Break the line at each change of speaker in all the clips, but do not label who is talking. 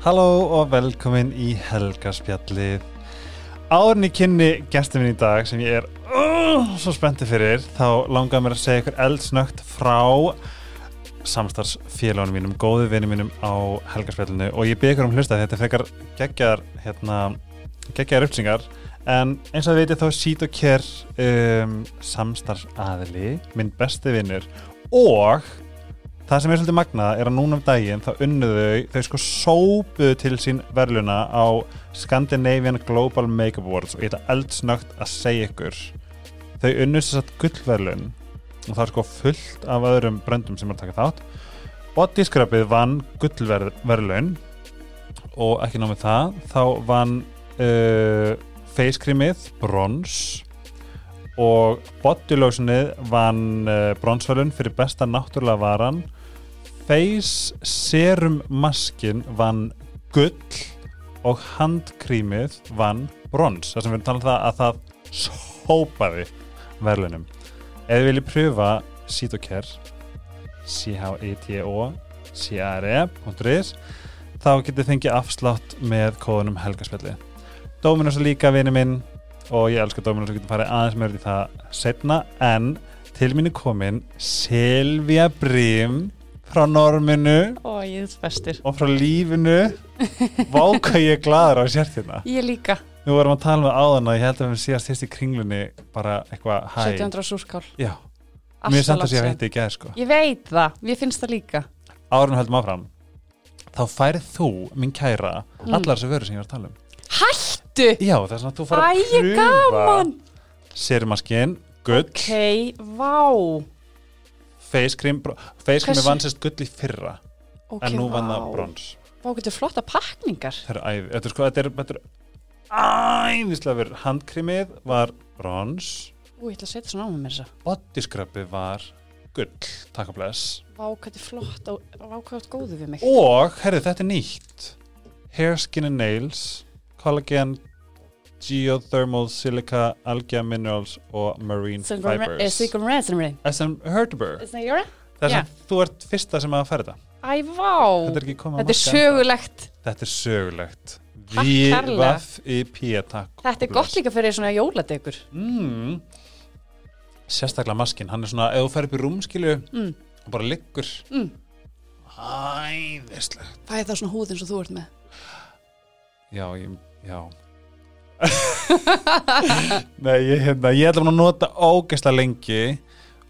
Halló og velkomin í Helgaspjallið. Áðurinn í kynni gestum minn í dag sem ég er uh, svo spenntið fyrir þá langaði mér að segja ykkur eldsnögt frá samstarfsfélagunum mínum, góðu vinum mínum á Helgaspjallinu og ég byggur um hlusta þetta er frekar geggjar hérna, geggjar uppsingar en eins og það veitir þá er Seed og Care um, samstarfsaðili minn besti vinnur og Það sem er svolítið magnað er að núna um daginn þá unnuðu þau, þau sko sópuðu til sín verðluna á Scandinavian Global Makeup Awards og ég ætla eldsnögt að segja ykkur þau unnuðu þess að gullverðlun og það er sko fullt af öðrum bröndum sem er að taka þátt Bodyscrubið vann gullverðlun og ekki námið það þá vann uh, facecreamið brons og bodylotionið vann uh, bronsverðlun fyrir besta náttúrulega varan face serum maskin vann gull og handkrímið vann brons þar sem við erum talað um það að það sópaði verðlunum ef þið viljið pröfa Cytocare E C-H-E-T-O E C-A-R-E.is þá getið fengið afslátt með kóðunum helgaspjalli Dóminus er líka vinur minn og ég elska Dominus og getum farið aðeins meira í það setna en til mín er komin Silvia Brím frá Norminu
Ó, ég er bestur.
og frá lífinu váka ég er gladur á sér þérna
Ég líka,
við vorum að tala með áðan og ég held að við síðast hérst í kringlunni bara eitthvað hæ
1700 súrskál.
Já,
Alltaf
mér er samt
langt
að sé að
síðan.
veit ekki að sko
Ég veit það, mér finnst það líka.
árun höldum áfram þá færið þú, mín kæra
Mm.
allar þessu vöru sem ég var að tala um
Hættu!
já, það er svona að þú fara
Æ,
að
ég gaman!
serumaskin, gull
Ok, vá.
face cream, bro- face cream
Hversu-
vann sérst gull í fyrra
Ok,
en nú
vá.
vann það brons
Vá, getur flotta pakningar.
þetta er æði, þetta er sko, þetta er, þetta er æðislega verið, handkrimið var brons,
Ú, ég ætla að setja svona á mig mér þess að.
bodyskröppi var gull, takk og bless
Vá, hvað er flotta, vá, hvað er góðu við mig.
og, herðu, þetta er nýtt hair, skin and nails collagen geothermal silica, algae minerals og marine fibers
Sigurd Ransom.
SM Hertber það
Já.
sem þú ert fyrsta sem að færa þetta
Æ, vá.
þetta er ekki komið á
Þetta
markað
er
ennþá.
sögulegt.
Þetta er sögulegt
Takk kærlega.
V.I.P. takk
Þetta er gott líka fyrir svona jóladegur.
mm. Sérstaklega maskinn Hann er svona, ef þú fer upp í rúmskilu
Mm.
og bara liggur
Mm.
Æðislegt
Fæ það svona húð eins og þú ert með.
Já, ég, já Nei, ég, hérna, ég ætla mér að nota ógeðslega lengi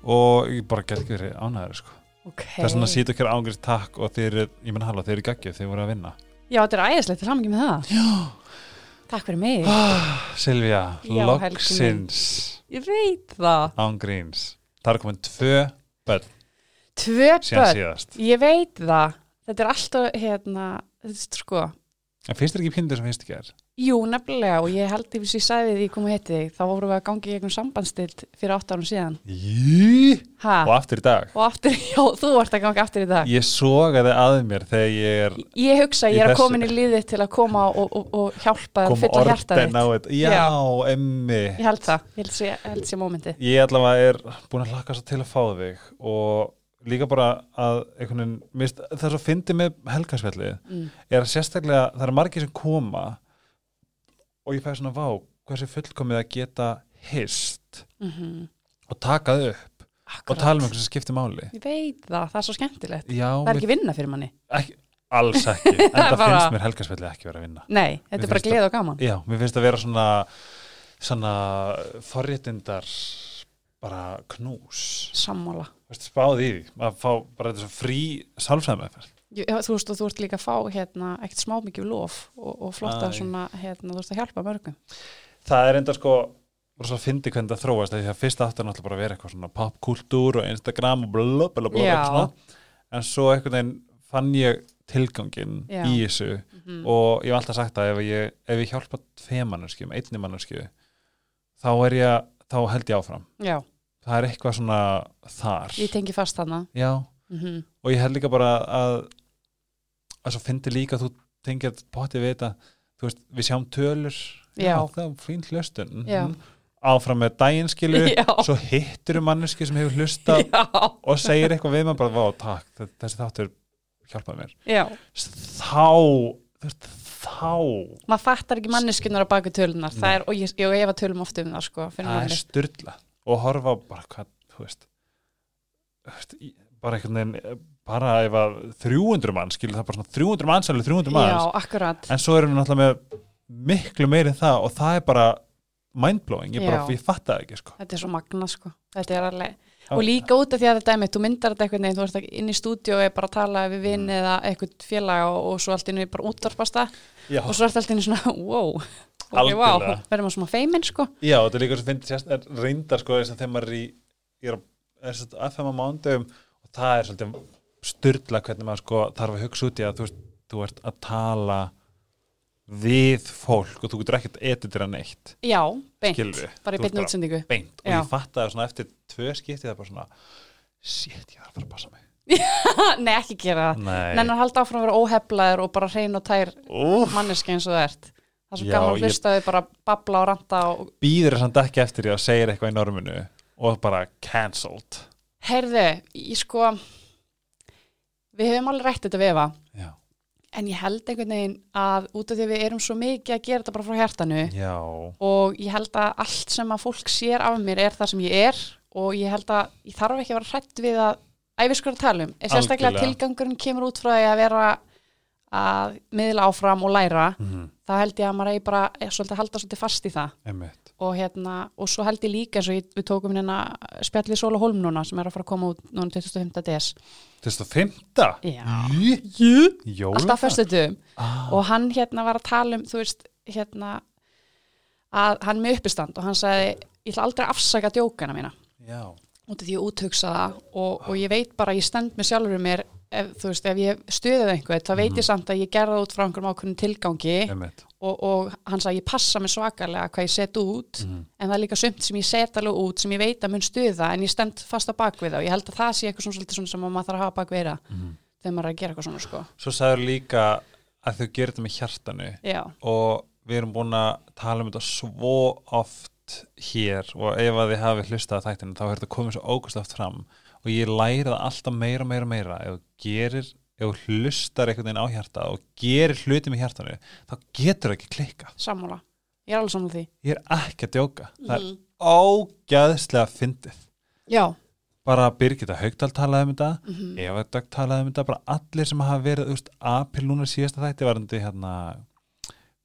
og ég bara get ekki verið ánæður sko.
Ok.
Það er svona að sýta okkar ángrið takk og þeir eru, ég menn halva, þeir eru gaggjöf, þeir voru að vinna
Já, þetta er æðislegt, til hamingi með það. Já. Takk fyrir mig.
Silvja,
Já, Helgi minn.
loksins
Ég veit það.
ángríns Það er komin tvö börn
Tvö
síðan
börn.
síðast
Ég veit það. Þetta er alltaf, hérna, þetta er sko,
En finnst þér ekki píndur sem finnst ekki er?
jú, nefnilega, og ég held yfir því sæði því ég kom að hétti þig, þá vorum við að gangi í einhvern sambandsstilt fyrir átt árum síðan.
Jí
Ha?
Og aftur í dag
Og aftur, já, þú ert að ganga aftur í dag.
Ég sogaði að mér þegar ég er
Ég hugsa að
Í
ég er að
þessu-
komin í liðið til að koma og, og, og hjálpa þér að
kom
fylla hjarta
orðin á
þitt.
þetta Já, emmi
Ég held það, ég held sé, held sé mómenti.
Ég allavega er búin að hlakka svo til að fá þig og líka bara að einhvern veginn, mér finnst- það er svo fyndi með helgarsfjallið
Mm.
er að sérstaklega, það eru margir sem koma og ég fæði svona vá hversu fullkomið að geta hist
Mm
og takað upp og tala um einhvern sem skiptir máli
Ég veit það, það er svo skemmtilegt.
Já,
Það er ekki vinna fyrir manni.
ekki, alls ekki en það
Bara-
finnst mér helgarsvelli ekki vera að vinna
Nei,
Mér
þetta er bara
finnst
gleð og gaman.
já, mér finnst að vera svona svona forréttindar bara knús
Sammála.
Vist, spáði í því að fá bara þetta svo frí sálfræðum eða
Jú, já, þú veist og þú ert líka að fá hérna, ekkert smá mikið lof og, og flotta
Æ.
svona, hérna, þú ert að hjálpa mörgum
það er enda sko og svo fyndi hvernig það þróast af því að fyrst aftur náttúrulega bara að vera eitthvað svona popkultúr og Instagram og blá blá blá blá
Já.
eitthvað svona. en svo einhvern veginn fann ég tilgangin
Já. Mm.
í þessu
Mhm.
og ég hef alltaf sagt það ef ég, ef ég hjálpa tvei mannarskjum, einni mannarskju þá er ég, þá held ég áfram
Já,
það er eitthvað svona þar
ég tengi fast hana
já,
mm -hmm.
og ég held líka bara að að svo fyndi líka að þú tengir að potti við þetta þú veist, við sjáum tölur
Já.
það er fín hlustun
Já.
Mhm. áfram með daginskilu
Já.
svo hittir um manneski sem hefur hlusta
Já,
og segir eitthvað við maður bara, vá, takk, þe- þessi þáttur hjálpaði mér
já,
þá þú veist, þá
maður fattar ekki manneskunar á baku tölunar það er, og ég, ég, ég hefa tölum oft um það sko, fyrir
það er
maður
styrla og horfa á bara hvað, þú veist, þú veist í- bara einhvern veginn bara ef að 300 mann skilur það bara svona 300 manns alveg 300
já,
manns
akkurat
en svo erum við náttúrulega með miklu meiri en það og það er bara mindblowing, ég bara,
Já.
ég fatta það ekki sko.
þetta er svo magna sko, þetta er alveg
Já.
og líka út af því að þetta er mitt, þú myndar þetta einhvern veginn þú ert ekki inn í stúdíu og er bara að tala við vinn
Mm.
eða eitthvað félaga og, og svo allt innu bara útvarpast það
Já.
og svo ert allt innu svona, wow ok, wow,
Algjörlega.
verðum að svona feiminn sko
Já, þetta er líka svo fyndið sérst- er reyndar sko þess að þegar maður er í ég er á- er sérst á FM á mándum og það er svolítið styrla hvernig maður sko þarf að hugsa út í að þú, veist, þú ert að tala við fólk og þú getur ekkert editera neitt
já, beint,
Skilurðu?
bara
Þú ert
í beinni
bara-
útsendingu
beint og
Já.
ég fatt að svona eftir tvö skipti það er bara svona shit, ég þarf að fara að passa mig
nei, ekki gera það,
Nei,
nennan halda áfram að vera óheflaður og bara hrein og tær
Úff,
manneski eins og það ert það er svo
Já, ég-
gaman að hlusta ég... þau bara babla og ranta og
býður þess að ekki eftir ég að segja eitthvað í norminu og bara cancelled
heyrðu, ég sko við höfum alveg rætt þetta við Eva
Já,
en ég held einhvern veginn að út af því að við erum svo mikið að gera þetta bara frá hjartanu
já,
og ég held að allt sem að fólk sér af mér er það sem ég er og ég held að ég þarf ekki að vera hrætt við að æfiskur að tala um, Ef sérstaklega
Algjörlega.
tilgangurinn kemur út frá því að vera að miðla áfram og læra
mm,
þá held ég að maður eigi bara eh, svolítið að halda svolítið fast í það
einmitt
og hérna, og svo held ég líka eins og ég, við tókum hérna spjallið Sól og Hólm núna sem er að fara að koma út núna 25. des
2005?
Já.
Jú, Jóla
alltaf föstutum
ah.
og hann hérna var að tala um þú veist, hérna að hann er með uppistand og hann sagði ég ætla aldrei að afsaka djókana mína
Já,
út af því ég úthugsa það og, og ég veit bara að ég stend með sjálfur um mér ef, þú veist, ef ég stuðið einhvern þá veit ég samt að ég gerði það út frá einhverjum ákveðnum tilgangi
einmitt
og, og hann sagði ég passa mig svakalega hvað ég set út en það er líka sumt sem ég set alveg út sem ég veit að mun stuða en ég stend fast á bakvið það og ég held að það sé eitthvað svona, svolítið svona sem að maður þarf að hafa bakvið það þegar maður er að gera eitthvað svona sko.
Svo sagður líka að þau gerir þetta með hjartanu
Já,
og við erum búin að tala um þetta svo oft hér og ef að þið hafið hlustað að þættinu þá er þetta komið svo ógust oft fram og ég læri það alltaf meira, meira, meira ef þú gerir, ef þú hlustar einhvern veginn á hjarta og gerir hluti með hjartanu þá getur það ekki klikka
sammála Ég er alveg sammála því
ég er ekki að djóka það er ógæðslega fyndið
Já,
bara Birgitta Haugdal talaði um þetta
Mhm.
Eva Dögg talaði um þetta bara allir sem hafa verið, þú veist, apil núna síðasta þætti varandi hérna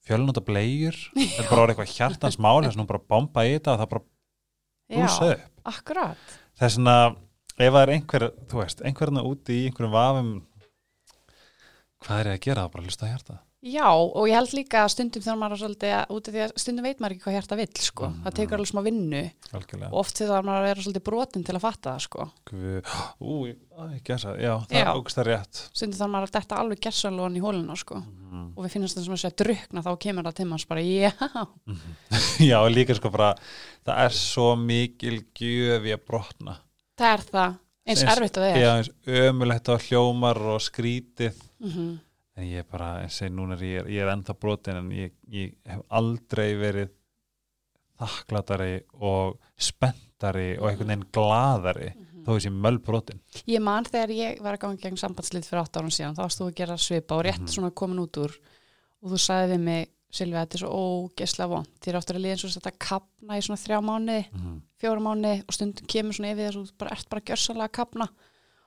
fjölnóta blegjur, þetta bara var eitthvað hjartans mál, þess að hún bara bomba í þetta og það bara blúsa
já,
upp
akkurat
þess að ef það er einhver, þú veist, einhverna úti í einhverjum vafum hvað er ég að gera, þá bara hlusta að hjarta
Já, og ég held líka að stundum þegar maður er svolítið að, út af því að stundum veit maður ekki hvað hjarta vill, sko.
Mm,
Það tekur alveg smá vinnu og
algjörlega,
oft þegar maður er svolítið brotin til að fatta það, sko.
Guð, ú, ég- æ, ég gæsa já, það
Já.
er ógust að rétt
Stundum þarf maður að detta alveg gersalóan í hóluna, sko.
Mm.
Og við finnast það sem að segja drukna, þá kemur það til manns bara, já,
já, og líka sko bara það er svo mikil gjöfi að brotna
það er það eins
Eins-
erfitt og það er.
Já, eins ömulegt á hljómar og skrítið
Mm
en ég er bara, ég segi núna er ég, ég er ennþá brotin en ég, ég hef aldrei verið þakklatari og spenntari og einhvern veginn glaðari þó þess ég möll brotin
mhm. Ég man þegar ég var að ganga gegn sambandslið fyrir 8 árum síðan, þá varst þú að gera svipa og rétt
Mhm.
svona komin út úr og þú sagði við mig, Silvi, þetta er svo ógesla vond. Þér áttur að liða eins og þetta kapna í svona þrjá mánuði,
Mhm.
fjóra mánuði og stundum kemur svona yfir þess og þú bara ert bara gjörsalega að kapna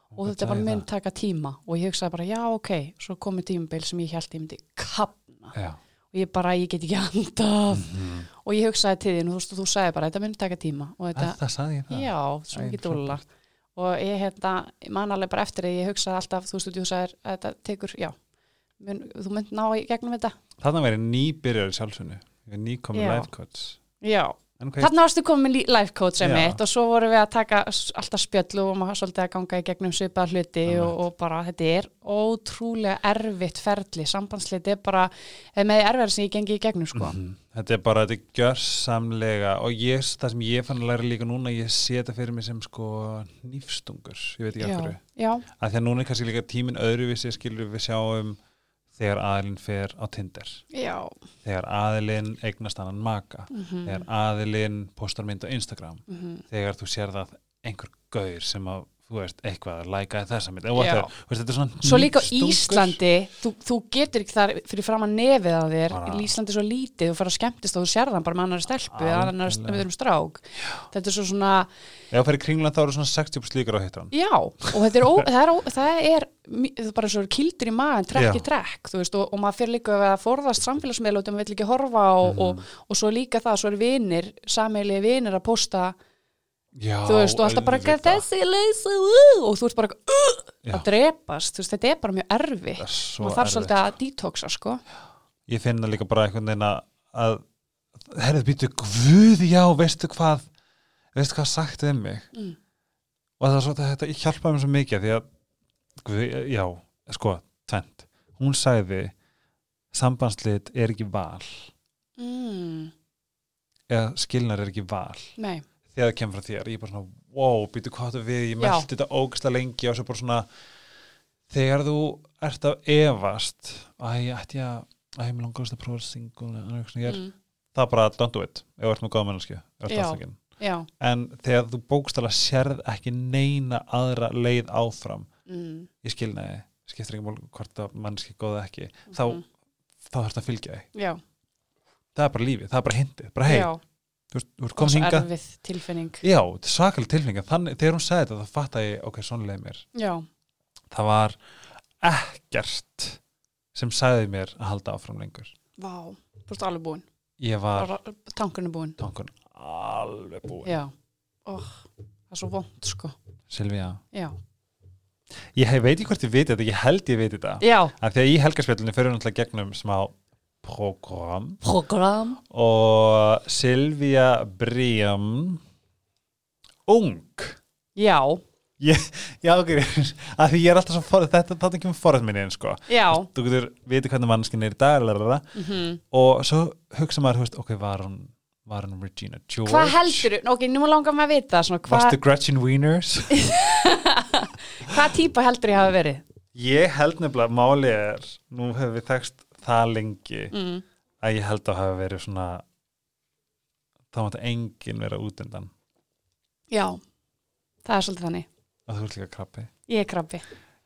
og þetta er bara
sagði
mynd taka tíma og ég hugsaði bara, já, ok, svo komið tímabil sem ég held ég myndi kapna
Já,
og ég bara, ég get ekki andað
Mm. Mhm.
og ég hugsaði til þín og þú, veist, og þú sagði bara, þetta myndi taka tíma og þetta,
það, það sagði ég það
Já, svo
Æ,
mikið
frábært.
dúlla og ég hérna, ég man alveg bara eftir því, ég hugsaði alltaf, þú veist, þú sagðir að þetta tekur, já, mun, þú mynd ná í gegnum þetta.
Þannig að vera nýbyrjar í sjálfsunu ég er nýkomin
Já.
life coach
Já,
en hvað ég,
þarna varstu komin með life coach
Já.
sem mitt og svo vorum við að taka s- alltaf spjöll og maður svolítið að ganga í gegnum svipað hluti og, og bara þetta er ótrúlega erfitt ferli, sambandsliti er bara eh, með erfiðar sem ég gengi í gegnum sko.
Mhm. þetta er bara, þetta er gjörsamlega og ég, það sem ég fann að læra líka núna ég sé þetta fyrir mig sem sko nýfstungur, ég veit ekki af
já,
hverju
já,
að því að núna er kannski líka tíminn öðruvísi skilur við sjáum þegar aðilinn fer á Tinder
já,
þegar aðilinn eignast annan maka þegar aðilinn postar mynd á Instagram
mhm,
þegar þú sér það einhver gaur sem að þú veist, eitthvað, lækaði þessa mynd, og
Já.
whatever. Þú veist, þetta er svona
Svo líka á
hnífstungur.
Íslandi, þú, þú getur ekki þar fyrir fram að nefið á þér,
Bara-
í Íslandi er svo lítið, þú fyrir að skemmtist og þú sér þann bara með annari stelpu, eða annars
Algjörlega.
með þeim strák. Þetta er svo svona,
Ef þú fyrir kringlan þá eru svona 60 slíkar á hittan.
já, og þetta er, ó, það, er ó, það er, mi- það er bara svo kildur í maðan,
Já.
trekk í trekk, þú veist, og, og maður fyrir líka að forðast samfélagsmiðla út um vill ekki horfa á,
Mhm.
og, og svo líka það, svo er vinir, sameiligi vinir að posta,
Já,
þú veist, og alltaf bara
auðvitað.
þessi leysi, uh, og þú ert bara uh,
Já.
að drepast, þú veist, þetta er bara mjög erfitt
er svo
maður þarf
erfitt,
svolítið að detoxa, sko
Ég finn það líka bara einhvern veginn að, að herðu, býtu, guð, já, veistu hvað, veistu hvað sagt um mig?
Mm.
Og það er svo, þetta hjálpaði mér svo mikið, því að, guð, já, sko, tvent. Hún sagði, sambandslit er ekki val,
mm,
eða skilnar er ekki val.
nei,
þegar það kemur frá þér, ég er bara svona wow, býtu hvað þú við, ég
Já.
meldi þetta ógæsla lengi og svo bara svona þegar þú ert að efast æ, ætti ég að æ, mér langaðast að prófa single eða eitthvað svona, ég er,
mm,
það er bara don't do it ef þú ert með góða mennskju
Já. já
en þegar þú bókstala sérð ekki neina aðra leið áfram
mm,
ég skilnaði, skiptir ekki mál hvort að mennski góða ekki, þá
Mhm.
þá þarfst að fylgja þig,
já,
það er bara lífið, það er bara hindið bara hei,
já,
þú ert- þú ert
og
komin
svo
hingað
erfið tilfinning
Já, svakalega tilfinninga þannig, þegar hún sagði þetta þá fatt ég, ok, svona leið mér
já,
það var ekkert sem sagði mér að halda áfram lengur
vá, þú ert alveg búin
ég var
bara tankurinn er búin
tankun alveg búin
já, oh, það er svo vond, sko
Silvía,
já,
ég hef- veit ekki hvort ég veit þetta ég held ég veit þetta
já,
af því að í helgarspjöldunni fyrir við náttúrulega gegnum smá program
program
og Silvía Bríam ung
já,
já, ok, af því ég er alltaf svo forð, þetta, þetta kemur forðið minni inn, sko
já
þú getur viti hvernig mannskinn er í dag lalala.
mm -hmm.
og svo hugsa maður, þú veist, ok, var hún var hún Regina George
hvað heldur, ok, nú langar maður að vita svona, hva,
Varstu Gretchen Wieners?
hvað típa heldur ég hafa verið
ég held nefnilega, máli er nú hefur við þekst það lengi
mm.
að ég held að hafa verið svona þá mátti enginn vera út undan
já, það er svolítið þannig
og þú ert líka krabbi
ég er krabbi,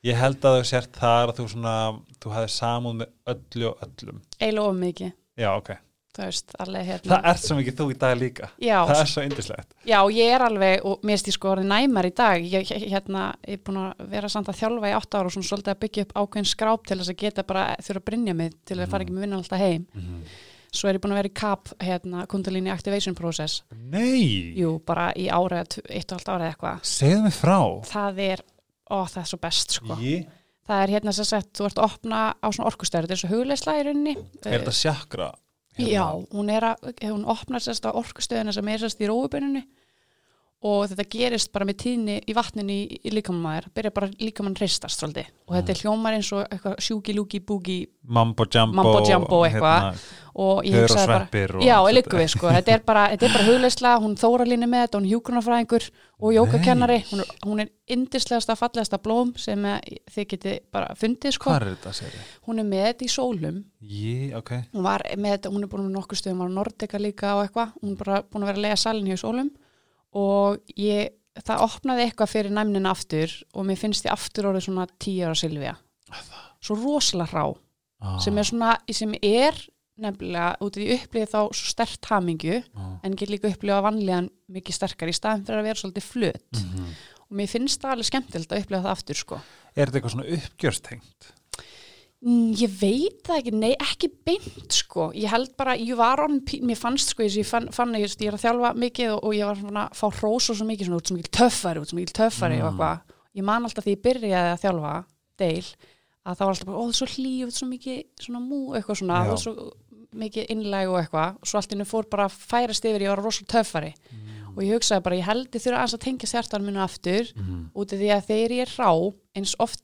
ég held að þú sért þar að þú svona þú hafði samúð með öllu og öllum
eiginlega of mikið
já, ok,
þú veist, alveg hérna
það ert svo mikið þú í dag líka
já,
það er svo yndislegt
Já, ég er alveg, og mér stið sko orðið næmar í dag, ég, ég- hérna, ég er búin að vera samt að þjálfa í átta ára og svona svolítið að byggja upp ákveðin skráp til þess að geta bara þurfa að brinja mig til að
Mm.
fara ekki með vinnan alltaf heim. Svo er ég búin að vera í CAP, hérna, Kundalini Activation Process,
nei,
jú, bara í ára, tv- eitt og allt ára eitthvað.
segðu mig frá
Það er, ó, það er svo best, sko.
ég
Það er hérna sem sagt, þú ert að opna á svona orkustæri, þetta er svo hugleisla í rauninni. Eh,
Er þetta hérna? sjakra?
Já, hún, er að, hún opnar sérst á orkustöðina sem er sérst í róubuninu og þetta gerist bara með tíðni í vatninu í, í líkamamæður, byrja bara líkamann hristast svolítið og
Mm.
þetta er hljómar eins og eitthvað sjúki, lúki, búki
Mambo Jumbo, hérna,
Mambo Jumbo eitthvað. og ég
Hör og
hugsaði
sveppir
bara,
og
já,
allt
ég liggu við sko, þetta er bara, þetta er bara hugleisla, hún þóralínu með þetta, hún er hjúkrunafræðingur og jókakennari,
Nei.
hún er, hún er indislegasta, fallegasta blóm sem eh, þið geti bara fundið sko,
Hvað er þetta, segir ég?
hún er með þetta í sólum
Ég, ok.
hún var með þetta, hún er búin með nokkuð stöðum var á Nordica líka og eitthvað, hún er bara búin að vera að lega salin hjá sólum og ég, það opnaði eitthvað fyrir næmnin aftur og mér finnst ég aftur orðið svona 10 ára Silvía svo rosalega hrá,
Ah,
sem er svona sem er nefnilega, út af því upplýði þá svo stert hamingju
Ah.
en get líka upplýða vanlíðan mikið sterkar í staðin fyrir að vera svolítið flöt
Mhm.
og mér finnst það alveg skemmtilegt að upplýða það aftur sko
Er þetta eitthvað svona uppgjörstengt?
Mm, Ég veit það ekki, nei, ekki beint sko, ég held bara, ég var orðin pín, mér fannst sko, þess að ég fann, fann ég, ég er að þjálfa mikið og, og ég var svona að fá hrós og svo mikið, svona, út sem mikil töffari, út sem mikil töffari og eitthvað, ég man alltaf því ég byrjaði að þjálfa, deil, að það var alltaf bara, ó, þú er svo hlý, þú er svo mikið, svona mú, eitthvað svona,
Já.
þú er svo mikið innlæg og eitthvað, og svo allt innu fór bara að færast yfir, ég var rosa töffari og ég hugsaði bara, ég held ég þurfa aðeins að tengja sértan minu aftur,
Mm.
út af því að þegar ég er rá eins, oft,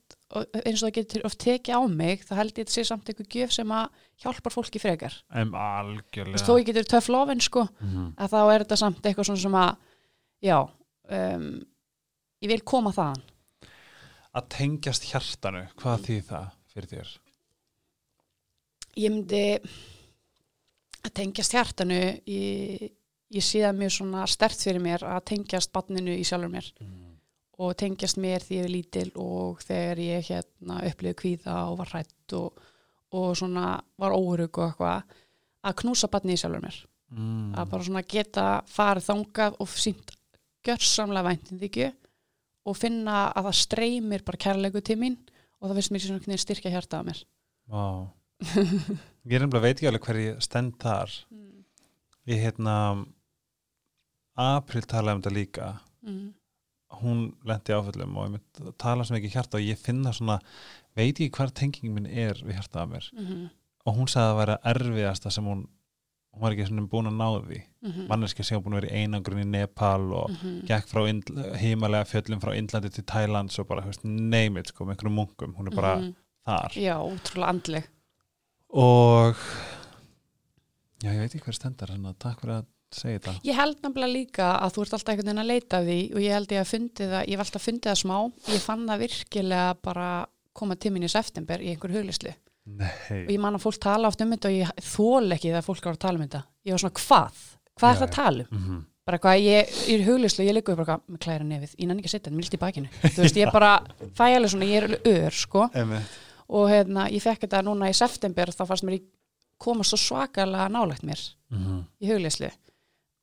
eins og það getur oft tekið á mig þá held ég þetta sé samt einhver gjöf sem að hjálpar fólki frekar
Um
ja.
algjörlega.
þó ég getur töff lofin sko
Mhm.
að þá er þetta samt eitthvað svona sem að já um, ég vil koma þaðan
Að tengjast hjartanu, hvað þýð það fyrir þér?
ég myndi að tengjast hjartanu ég, ég sé það mjög svona stert fyrir mér að tengjast barninu í sjálfur mér og tengjast mér því ég er lítil og þegar ég hérna upplifið kvíða og var hrætt og, og svona var óhörug og eitthvað að knúsa barni í sjálfur mér
Mm.
að bara svona geta farið þangað og sínt gjörsamlega væntinþykju og finna að það streymir bara kærleiku til mín og það finnst mér svona einhvern veginn styrkja hjartað að mér
Mm, Vá. Ég er nefnilega veit ekki alveg hver ég stend þar.
mm.
Ég hérna, April talaði um þetta líka.
Mm.
Hún lendi áföllum og ég mynd tala sem ekki hjarta og ég finna svona, veit ekki hvar tengingin minn er við hjartað að mér.
Mm -hmm.
Og hún sagði að það væri erfiðasta sem hún, hún var ekki svona búin að ná því.
Mm. mhm,
Manneskja sem hún búin að vera í einangrun í Nepal og gekk frá Indl- himalega fjöllum frá Indlandi til Tælands og bara, þú veist, name it, sko, með einhverjum munkum. Hún er bara
Mhm.
þar.
Já, útrúlega andleg
og já, ég veit ekki hver stendar þannig að takk fyrir að segja þetta
Ég held nefnilega líka að þú ert alltaf einhvern veginn að leita að því og ég held ég að fundi það, ég hef alltaf fundið það smá ég fann það virkilega bara koma til mín í september í einhver huglislu og
Nei,
ég man að fólk tala oft um þetta og ég þól ekki þegar fólk var að tala um þetta ég var svona hvað? Hvað er
Já,
það að tala um?
mm
Bara hvað, ég ég er huglislu, ég liggur bara eitthvað með klæra nefið, ég nenni ekki að setja þetta, mér lítið í bakinu þú veist, ég bara fæ alveg svona, ég er alveg ör sko.
einmitt
og hérna, ég fekk þetta núna í september þá fannst mér ég koma svo svakalega nálægt mér
mm
í hugleyslu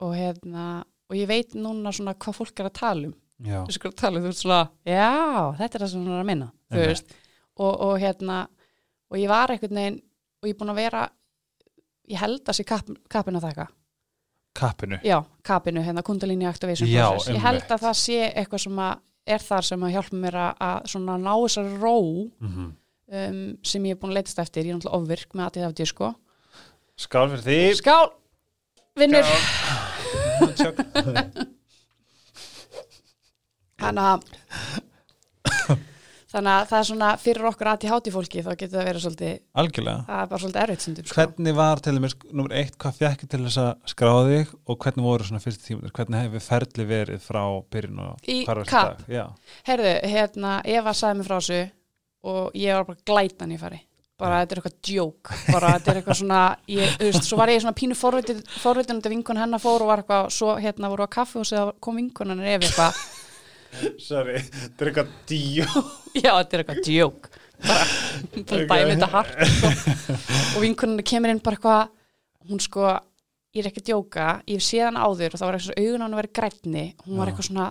og, hérna, og ég veit núna svona hvað fólk er að tala um
já,
þú skur að tala um, þú ert svona, já, þetta er það sem hún er að minna þú
Einmitt.
veist, og, og hérna og ég var einhvern veginn og ég er búin að vera ég held að sé kap, kapinu að þakka
kappinu
já, kapinu, hérna kundalínu activation
Já,
process ég held
einmitt.
að það sé eitthvað sem að er þar sem að hjálpa mér að, að svona ná þessar ró
mm
um, sem ég er búin að leitast eftir, ég er náttúrulega ofvirk með aðið af disko
skál fyrir því
Skál, vinnur Þannig að Þannig að það er svona fyrir okkur aðti háti fólki þá getur það verið svolítið,
algjörlega
það er bara svolítið erfitt sundum sko.
hvernig var til dæmis, nummer eitt, hvað fjekk til þess að skráða þig og hvernig voru svona fyrstu tímunir, hvernig hefur ferli verið frá byrjun og
Í
hvar varstu
kapp.
dag? já,
Herðu, hérna, Eva sagði mér frá þessu og ég var bara glætan í fari bara þetta er eitthvað djók bara þetta er eitthvað svona, ég, þú veist, svo var ég svona pínu forvitin, forvitin um þetta vinkun hennar fór og var eitthvað, svo hérna voru á kaffi og séða kom vinkun hennar ef eitthvað,
sorry, drikka díu
já þetta er eitthvað djók bara, bara dæmi þetta hart sko. og vinkuninu kemur inn bara eitthvað hún sko, ég er ekki að djóka ég hef séð hann áður og þá var eitthvað augun á hann að vera grænni, hún var
Já.
eitthvað svona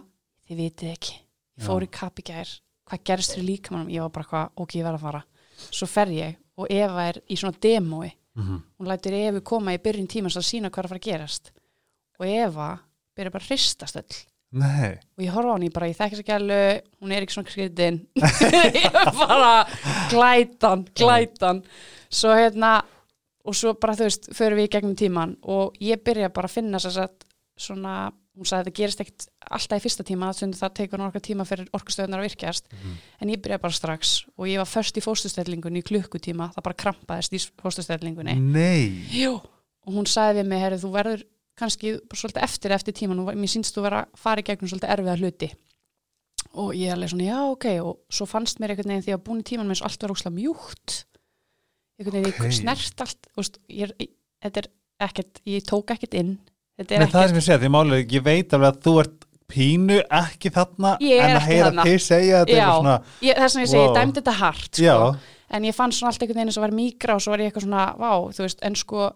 þið vitið ekki, ég fór í kapp í gær hvað gerist fyrir líkamanum, ég var bara eitthvað ok, ég verð að fara, svo fer ég og Eva er í svona demói
Mhm.
hún lætur Evu koma í byrjun tímans að sína hvað er að fara að gerast og Eva byrja bara að hristast öll
nei,
og ég horfa á hann, ég bara, ég þekki þess að gælu hún er ekki svona skritin ég er bara glætan glætan, svo hérna og svo bara, þú veist, förum við í gegnum tíman og ég byrja bara að finna þess að svona, hún sagði þetta gerist ekkit alltaf í fyrsta tíma, þannig það tekur nokkra tíma fyrir orkustöðunar að virkjast en ég byrja bara strax og ég var först í fóstustellingunni í klukkutíma, það bara krampaðist í fóstustellingunni
nei
Jú, og hún sagði við mig, herri, þú verður kannski bara svolítið eftir eftir tíman og mér sínst þú vera að fara í gegnum svolítið erfiða hluti og ég er alveg svona, já, ok og svo fannst mér einhvern veginn því að búin í tíman mér svo allt var óslega mjúkt einhvern veginn,
Ok.
ég snert allt þú veist, ég, er- ég, þetta er ekkert, ég tók ekkert inn þetta er
Nei, það er
ekkert
sem ég segja, því málið, er, ég veit alveg að þú ert pínu ekki þarna
Ég er
en að
ekki
heyra
þarna.
þig segja þetta
Já,
eitthvað svona,
ég, þess vegna ég segi,
Wow.
ég dæmdi þetta hart sko.
já,
en ég fann svona allt einhvern veginn eins og var mígra og svo var ég eitthvað svona, vá, þú veist, en sko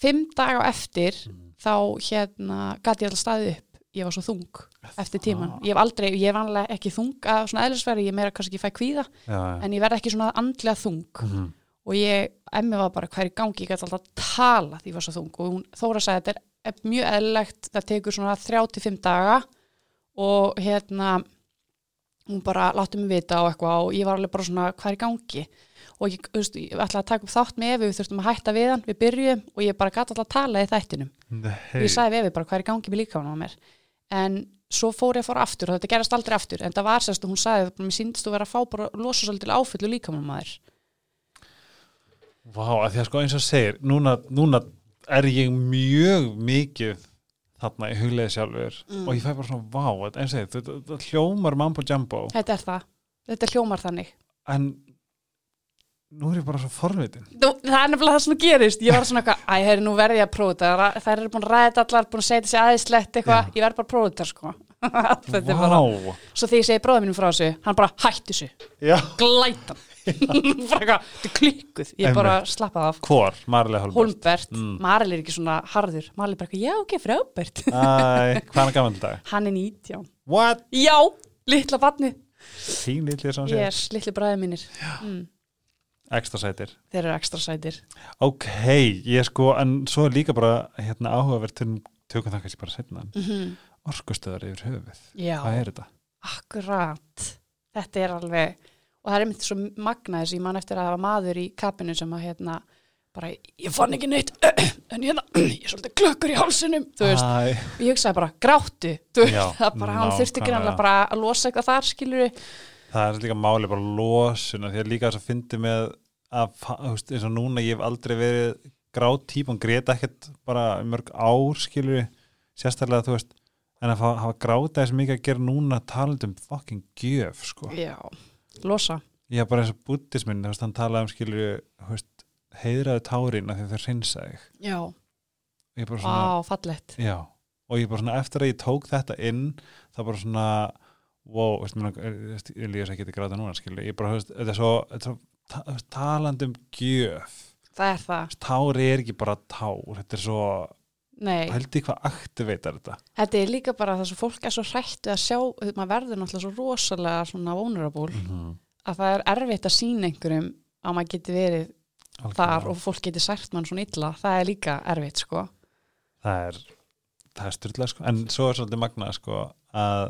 fimm dag á eftir þá hérna gæti ég alltaf staðið upp ég var svo þung eftir tíman ég hef aldrei, ég hef vanlega ekki þung að svona eðlisveri, ég meira kannski ekki fæ kvíða
já, já.
en ég verð ekki svona andlega þung
Mhm.
og ég, emmi var bara hver í gangi ég gæti alltaf að tala því ég var svo þung og hún, Þóra sagði þetta er e- mjög eðlilegt það tekur svona 35 daga og hérna hún bara látti mig vita og eitthvað og ég var alveg bara svona hvað er í gangi og ég, þú veist, ég ætlaði að taka upp þátt með Evi við þurftum að hætta við hann, við byrjum og ég bara gæti alltaf að tala í þættinum
Nei,
og ég sagði við Evi bara hvað er í gangi með líkamann á mér en svo fór ég að fara aftur og þetta gerast aldrei aftur en það var sérst og hún sagði mér síndist þú vera að fá bara losa svolítið áfyllu líkamann maður
Vá, að því að sko eins og segir núna, núna er ég mjög mikið þarna í hugleið sjálfur
Mm.
og ég fæ bara svona, vá, þetta- eins og segir þetta, þetta hljómar mambo jumbo
þetta er það, þetta hljómar þannig
en nú er ég bara svo forvitin
Nú, það er nefnilega það sem gerist ég var svona eitthvað, æ, herri, nú verði ég að prófa þetta Ra- þær eru búin að ræða þetta allar, búin að segja þessi aðeinslegt eitthvað, ég verð bara að prófa þetta sko þetta er bara,
Vá.
svo þegar ég segi bróða mínum frá þessu hann bara hætti þessu,
Já.
glætan bara eitthvað, þetta er klikkuð ég bara slappaði af,
Hvor, Marilega Holmberg
Holmbert
Mm.
Maril er ekki svona harður, Maril er bara eitthvað já ok, frábært,
Æ, hvað er gaman dag?
hann er 19
What?
já, litla barnið
Þín lítið sem sé
yes, litli bræði mínir mm,
Ekstra sætir
þeir eru ekstra sætir
Ok, ég sko, en svo er líka bara hérna áhugavert til tökum það kannski bara setna
mm -hmm.
orkustöðar yfir höfuð,
já,
hvað er þetta?
Akkurat, þetta er alveg og það er einmitt svo magna þess að ég man eftir að hafa maður í kapinu sem að hérna bara, ég fann ekki neitt en hérna, ég er svolítið klökkur í hálsinum þú veist,
Æ,
og ég hugsaði bara, gráttu þú veist,
Já,
það bara, hann þurfti ekki
nákvæmlega.
náttúrulega bara að losa eitthvað þar, skilur við
það er líka máli bara losuna, því að líka þess að fyndi með að, fa- þú veist, eins og núna ég hef aldrei verið grát típ og grét ekkert bara í mörg ár skilur sérstaklega þú veist en að fá- hafa gráta þess mikið að gera núna talandi um fucking gjöf sko
Já, losa
ég hef bara eins og buddismin, þú veist, hann talaði um skilur þú veist, heiðraðu tárin af því að þau hreinsa þig
Já,
Ég bara svona,
á, fallegt
Já, og ég bara svona eftir að ég tók þetta inn það bara svona wow, veist, mér, langar- eh, veist, ég líður þess að geta gráta núna skilur, ég bara, veist, þetta er svo, þetta er svo ta, þú veist, talandi um gjöf
Það er það,
tári er ekki bara tár þetta er svo,
nei
held ég hvað aktiveitar þetta
Þetta er líka bara þess að fólk er svo hrættu að sjá maður verður náttúrulega svo rosalega svona vulnerable að það er erfitt að sína einhverjum að maður geti verið
Algjörlega.
þar og fólk getur sært mann svona illa það er líka erfitt sko
það er, það er styrlega sko. en svo er svolítið magnað sko, að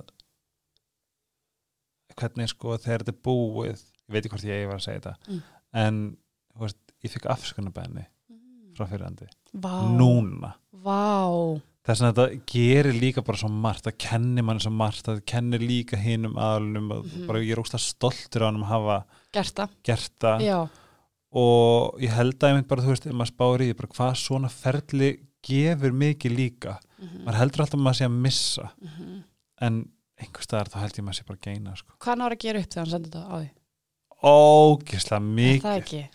hvernig sko þegar þetta er búið ég veit ekki hvort ég var að segja þetta
Mm.
en þú veist, ég fekk afskunarbæðinni frá fyrirandi
Vá,
núna
Vá.
þess að þetta gerir líka bara svo margt það kennir mann svo margt, það kennir líka hinum aðlunum og
Mhm.
bara ég er óslega stoltur á hann að hafa
gert það
gert það
Já,
og ég held að ég mynd bara, þú veist, ef maður spáir í því, bara hvað svona ferli gefur mikið líka Mhm. maður heldur alltaf að maður sé að missa en einhvers staðar þá held ég maður sé bara að geina sko.
Mhm. hvað náður að gera upp þegar hann sendur þetta á því?
ógislega
Er
mikið
Það ekki,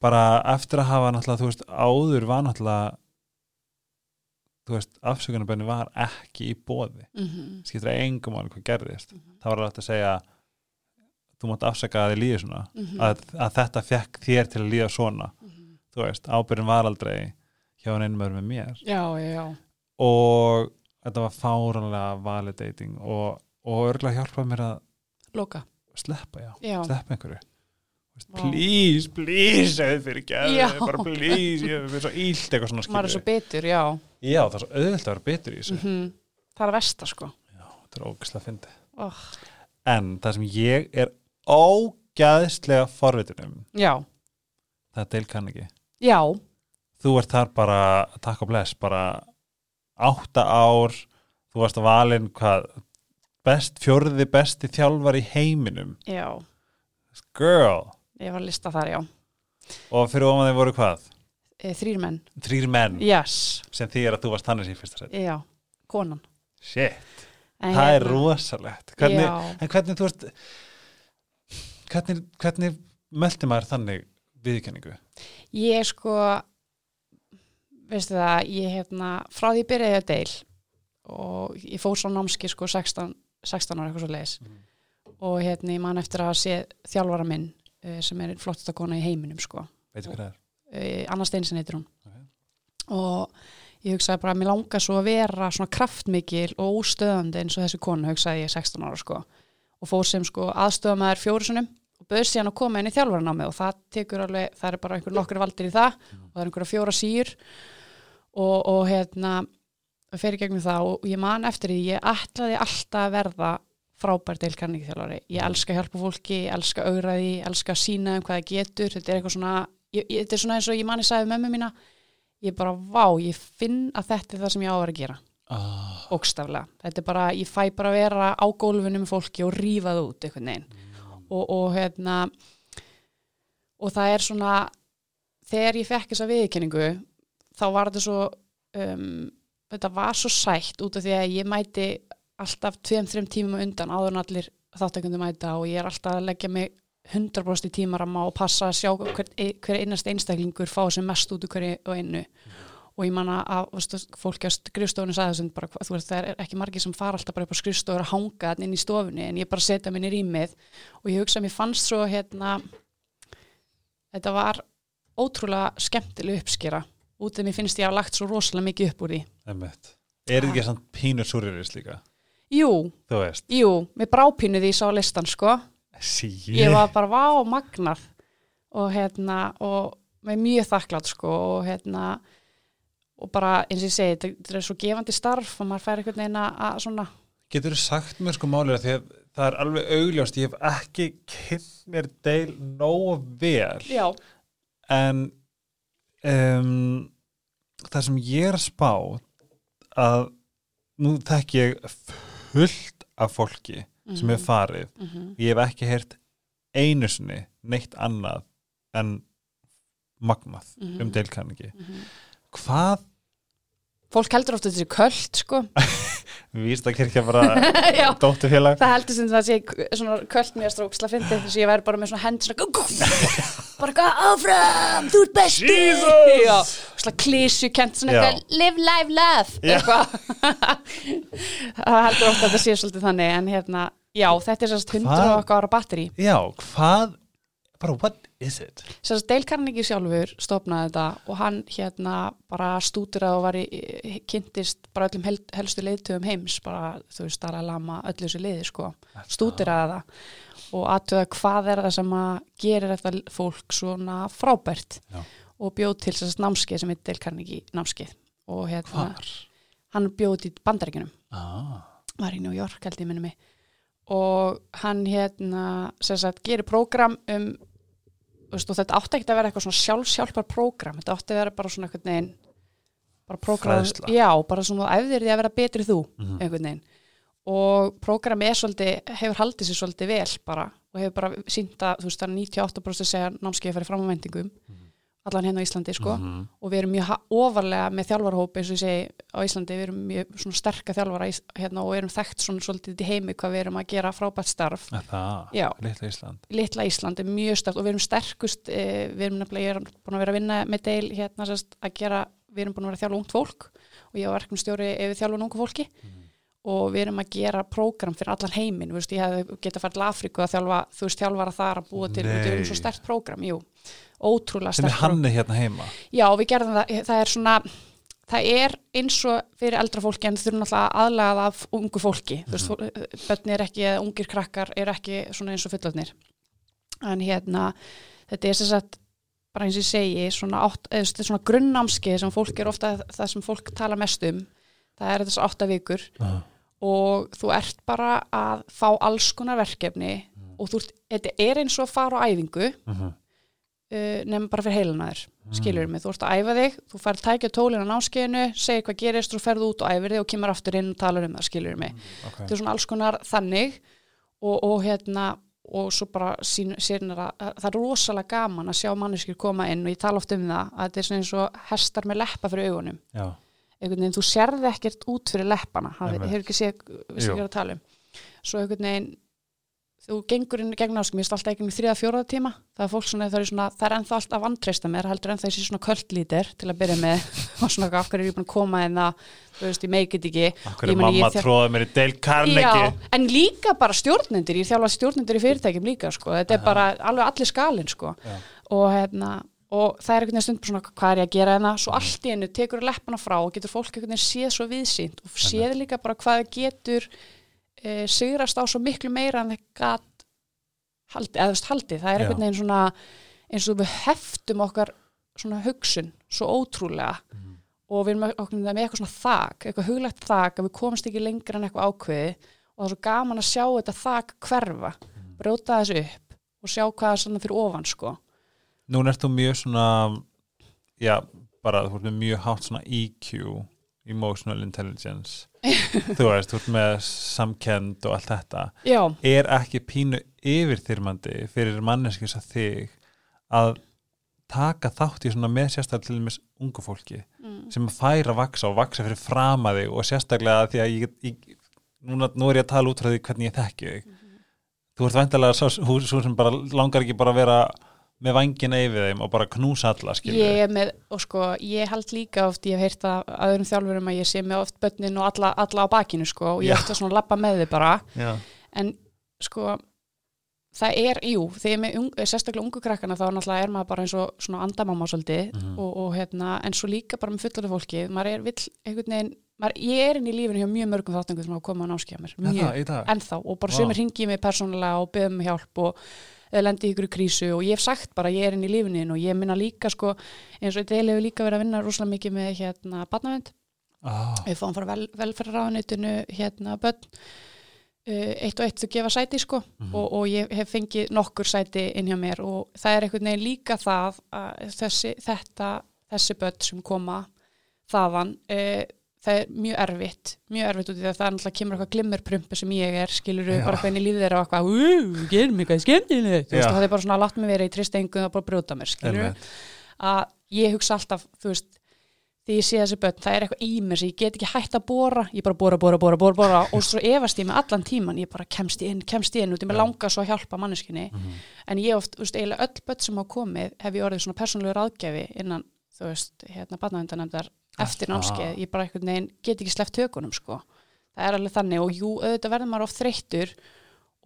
bara eftir að hafa náttúrulega, þú veist, áður var náttúrulega þú veist, afsökunarbenni var ekki í bóði
mm
skiptir engum máli hvað gerðist það var alveg hægt að segja þú mátt afsaka að þið líði svona
Mhm. Mm.
að, að þetta fekk þér til að líða svona þú veist, ábyrðin var aldrei hjá hann einum öðrum með mér
já, já, já
og þetta var fáranlega validating og, og örgulega hjálpaði mér að
Loka,
sleppa, já,
já,
sleppa einhverju Þú veist,
Vá.
please, please, eða fyrir
Já.
gerðu bara please, ég hef verið svo ílt eitthvað svona
maður er svo
skilur
betur, já
já, það er svo auðvitað að vera betur í þessu
mm Það er að versta sko
þetta er ógislega fyndið
oh.
En það sem ég er ógæðslega forvitin um,
Já,
það er Dale Carnegie.
já,
Þú ert þar bara, takk og bless, bara átta ár, þú varst valinn hvað, best, fjórði besti þjálfar í heiminum.
já
Girl!
Ég var að lista þar, já
Og fyrir ofan þeim voru hvað?
e, Þrýr menn,
Þrýr menn
yes,
sem því er að þú varst þannig í fyrsta sett.
já, konan
Shit,
En
það er
hérna-
rosalegt. Hvernig,
Já,
en hvernig þú ert, hvernig, hvernig möldi maður þannig viðkenningu?
Ég sko veistu það, ég hérna frá því ég byrjaði að deil og ég fór svo námski sko 16, 16 ára eitthvað svo leis
Mhm.
og hérna ég man eftir að sé þjálfara minn eh, sem er flottasta kona í heiminum sko
Veitu hvað það er?
Eh, Anna Steinsen heitir hún og ég hugsaði bara að mér langar svo að vera svona kraftmikil og óstöðandi eins og þessi konu hugsaði ég 16 ára sko og fór sem sko aðstöðamaður fjórusunum og bauð síðan að koma inn í þjálfaranámi og það tekur alveg, það er bara einhver nokkur valdir í það og það er einhverja fjóra síur og, og hérna og fer í gegnum það og ég man eftir því ég ætlaði alltaf að verða frábær deilkarningþjálfari ég elska að hjálpa fólki, ég elska að augra því ég elska að sína um hvað það getur þetta er eitthvað svona, ég, ég, þetta er svona eins og ég manni sagði við mömmu mína, ég bara vá ég finn að þetta er það sem ég á að vera að gera
Ah.
ógstaflega. Þetta er bara, ég fæ bara að vera á gólfinu með fólki og rífa það út einhvern veginn. Og, og hérna, og það er svona, þegar ég fekk þessa viðkenningu, þá var þetta svo, um, þetta var svo sætt út af því að ég mæti alltaf tveim, þreim tímum á undan áður en allir þáttökundu mæta og ég er alltaf að leggja mig 100% í e, tímaramma og passa að sjá hver, hver einast einstaklingur fá sem mest út úr hverju og einu og ég manna að þú veist, fólki á skrifstofunni sagði þessum bara, hvað- þú veist, það er ekki margir sem fara alltaf bara upp á skrifstofur að hanga þarna inn í stofunni en ég bara setja minni rýmið og ég hugsa að mér fannst svo hérna þetta var ótrúlega skemmtileg uppskera út af mér finnst ég að hafa lagt svo rosalega mikið upp úr því
Emmett. Er þetta ekki samt pínur súrurist líka?
Jú,
Þú veist.
jú, mér brápínu því ég sá listan sko
Sí.
ég var bara vá magnað og hérna og með mjög þakklátt sko og hérna og bara eins og ég segi, þetta- þetta er svo gefandi starf og maður fær einhvern veginn að- að svona
Getur þú sagt mér sko málið að því að það er alveg augljóst, ég hef ekki kynnt mér deil nógu vel.
já,
en um, það sem ég er að spá að nú þekk ég fullt af fólki sem hefur farið
mm
ég hef ekki heyrt einu sinni neitt annað en magnað
Mhm.
um deilkanningi hvað
fólk heldur ofta þessi köld sko
víst að kirkja bara
já,
dótturfélag
það heldur sem það sé k- svona köld mér stróksla fyndi þess að ég væri bara með svona hend svona gum, gum, bara eitthvað áfram, þú ert besti
Jesus!
já, svona klísu kent svona
Já.
eitthvað live, live, love
Já.
eitthvað það heldur ofta að það sé svolítið þannig en hérna, já, þetta er sérst 100
Hvað?
og okkar ára batteri
já, hvað bara what is it
sérst Dale Carnegie sjálfur stopnaði þetta og hann hérna bara stútur að og var í, kynntist bara öllum hel, helstu leiðtöfum heims bara, þú veist, Dalai Lama, öllu þessu leiði sko stúdiraða það og aðtöða hvað er það sem að gerir þetta fólk svona frábært
Já.
og bjóð til þess námskeið sem heitir Dale Carnegie námskeið og hérna,
hvar?
hann bjóð til bandaríkjunum
Ah,
var í New York held ég minnum mig og hann hérna sem sagt gerir prógram um þú veist, og þetta átti ekki að vera eitthvað svona sjálfsjálpar prógram, þetta átti að vera bara svona einhvern veginn bara prógram,
Fræðsla.
já, bara svona æfðir því að vera betri þú, einhvern veginn og prógram er svolítið hefur haldið sér svolítið vel bara og hefur bara sínt að, þú veist, það er 98% segja námskeið fyrir fram á vendingum allan hérna á Íslandi, sko
mhm.
og við erum mjög ha- ofarlega með þjálfarhóp eins og ég segi á Íslandi, við erum mjög svona sterka þjálfara í- hérna og erum þekkt svona svolítið í heimi hvað við erum að gera frábært starf
Er það,
Já.
litla Ísland
litla Ísland er mjög stærkt og við erum sterkust eh, við erum nefnilega, ég er búin að vera að vinna með deil hérna sérst að gera, við erum búin að vera að þjálfa ungt fólk og ég á verkum stjóri ef við þjálfum ungu fólki
Mhm.
og við erum að gera prógram fyrir allan heimin, þú veist, ég hefði getað farið til Afríku að þjálfa, þú veist, þjálfara þar að búa til,
Nei.
við erum svo stert prógram, jú ótrúlega
sem
stert
er hanni hérna heima
Já, við gerðum það, það er svona það er eins og fyrir eldra fólki en þau eru náttúrulega að aðlaga það af ungu fólki þú veist, fólk- börn er ekki, eða ungir krakkar er ekki svona eins og fullotnir en hérna, þetta er sem sagt bara eins og ég segi, svona, átt, eða, þú veist, þetta er svona grunnámskeið sem fólk er ofta það sem fólk tala mest um það er þess átta vikur
uh.
og þú ert bara að fá alls konar verkefni og þú ert, þetta er eins og að fara á æfingu
Mhm,
uh, nefn bara fyrir heilanaður skilur mig, þú ert að æfa þig þú fær tækja tólinn á náskeiðinu segir hvað gerist, þú ferð út og æfir þig og kemur aftur inn og talar um það, skilur mig
okay.
þetta er svona alls konar þannig og, og hérna og svo bara sín, sínir að að það er rosalega gaman að sjá manneskir koma inn og ég tala oft um það að þetta er svona eins og hestar með leppa fyrir augunum
já
einhvern veginn, þú sérði ekkert út fyrir leppana það
Einmitt.
hefur ekki séð, vissi
Jú.
ekki hvað er að tala um svo einhvern veginn þú gengur inn í gegn áskum, ég stalt ekki um þriða fjóraða tíma það er fólk svona, það er, svona, það er ennþá allt að vantreista mér, heldur ennþá þessi svona köldlítir til að byrja með og svona af hverju er ég búin að koma en það, þú veist, ég meikið ekki
Akkur er
Ég meina, ég
mamma
þjá-
tróða mér í Dale Carnegie
Já, en líka bara stjórnendur, ég þjálfa stjórnendur í fyrirtækjum líka, sko, þetta er bara alveg allir skalinn, sko,
Já.
og hérna og það er einhvern veginn stund bara svona hvað er ég að gera hérna svo allt í einu tekur leppana frá og getur fólk einhvern veginn séð svo viðsýnt og séð líka bara hvað það getur e, sigrast á svo miklu meira en það gat haldi, eða þú veist haldið, það er
Já.
einhvern veginn svona eins og við heftum okkar svona hugsun, svo ótrúlega
Mhm.
og við erum með- okkur með eitthvað svona þak, eitthvað huglegt þak að við komumst ekki lengra en eitthvað ákveði og það er svo gaman að sjá þetta þak hverfa,
Mhm.
brjóta þessu upp og sjá hvað er svona fyrir ofan sko.
Núna ert þú mjög svona já, bara þú ert með mjög hátt svona EQ emotional intelligence þú veist, þú ert með samkend og allt þetta
Já,
er ekki pínu yfirþyrmandi fyrir manneskis að þig að taka þátt í svona með sérstaklega til dæmis ungu fólki
Mm.
sem fær að vaksa og vaksa fyrir frama þig og sérstaklega því að ég, ég, núna, nú er ég að tala
Mhm.
út frá því hvernig ég þekki þig þú ert væntalega svo, svo sem bara langar ekki bara að vera með vangina yfir þeim og bara knúsa alla skilur
ég er með, og sko, ég held líka oft, ég hef heyrt að að öðrum þjálfurum að ég sé með oft börnin og alla, alla á bakinu sko, og ég
Já.
ætti að svona labba með þið bara
Já,
en sko það er, jú, þegar ég er með ung, eh, sérstaklega ungu krakkana þá náttúrulega er maður bara eins og svona andamáma svolítið
Mhm.
og, og hérna en svo líka bara með fullorðu fólki maður er vill einhvern veginn, maður, ég er inn í lífinu hjá mjög mörgum þáttangum sem hafa komið á námskjæmur
þetta
mjög,
í dag
ennþá og bara
Vá.
sömur hringi mig persónulega og beðum mig hjálp og eða lendi ykkur í krísu og ég hef sagt bara ég er inn í lífinu þínu og ég minna líka sko eins og þetta hefur líka verið að vinna rosalega mikið með hérna batnavend
ah,
við fáum frá vel, velferðarráðunitinu hérna börn uh, eitt og eitt þau gefa sæti sko
Mhm.
og, og ég hef fengið nokkur sæti inn hjá mér og það er einhvern veginn líka það að þessi, þetta, þessi börn sem koma þaðan uh, það er mjög erfitt mjög erfitt út í því að það er náttúrulega kemur eitthvað glimmerprumpu sem ég er, skilur
Já.
við bara hvernig lífið þeirra og eitthvað, úúú, gerum eitthvað skemmtilegt, þú veist,
Já.
og það er bara svona látt mig vera í tristengu og bara brjóta mér, skilur við
einmitt.
að ég hugsa alltaf, þú veist því ég sé þessi börn, það er eitthvað í mér sem ég get ekki hægt að bóra, ég bara bóra, bóra, bóra, bóra, bóra og svo efast ég með allan tíman, ég bara kemst ég inn, kemst ég inn út, ég með
Já.
langa svo að hjálpa manneskinni,
Mhm.
en ég oft, þú veist, eiginlega öll börn sem hafa komið, hef ég orðið svona persónlegu ráðgjafi innan, þú veist, hérna barnavendanemdar eftir
Aha.
námskeið, ég bara einhvern veginn get ekki sleppt tökunum, sko það er alveg þannig og jú, auðvitað verður maður oft þreyttur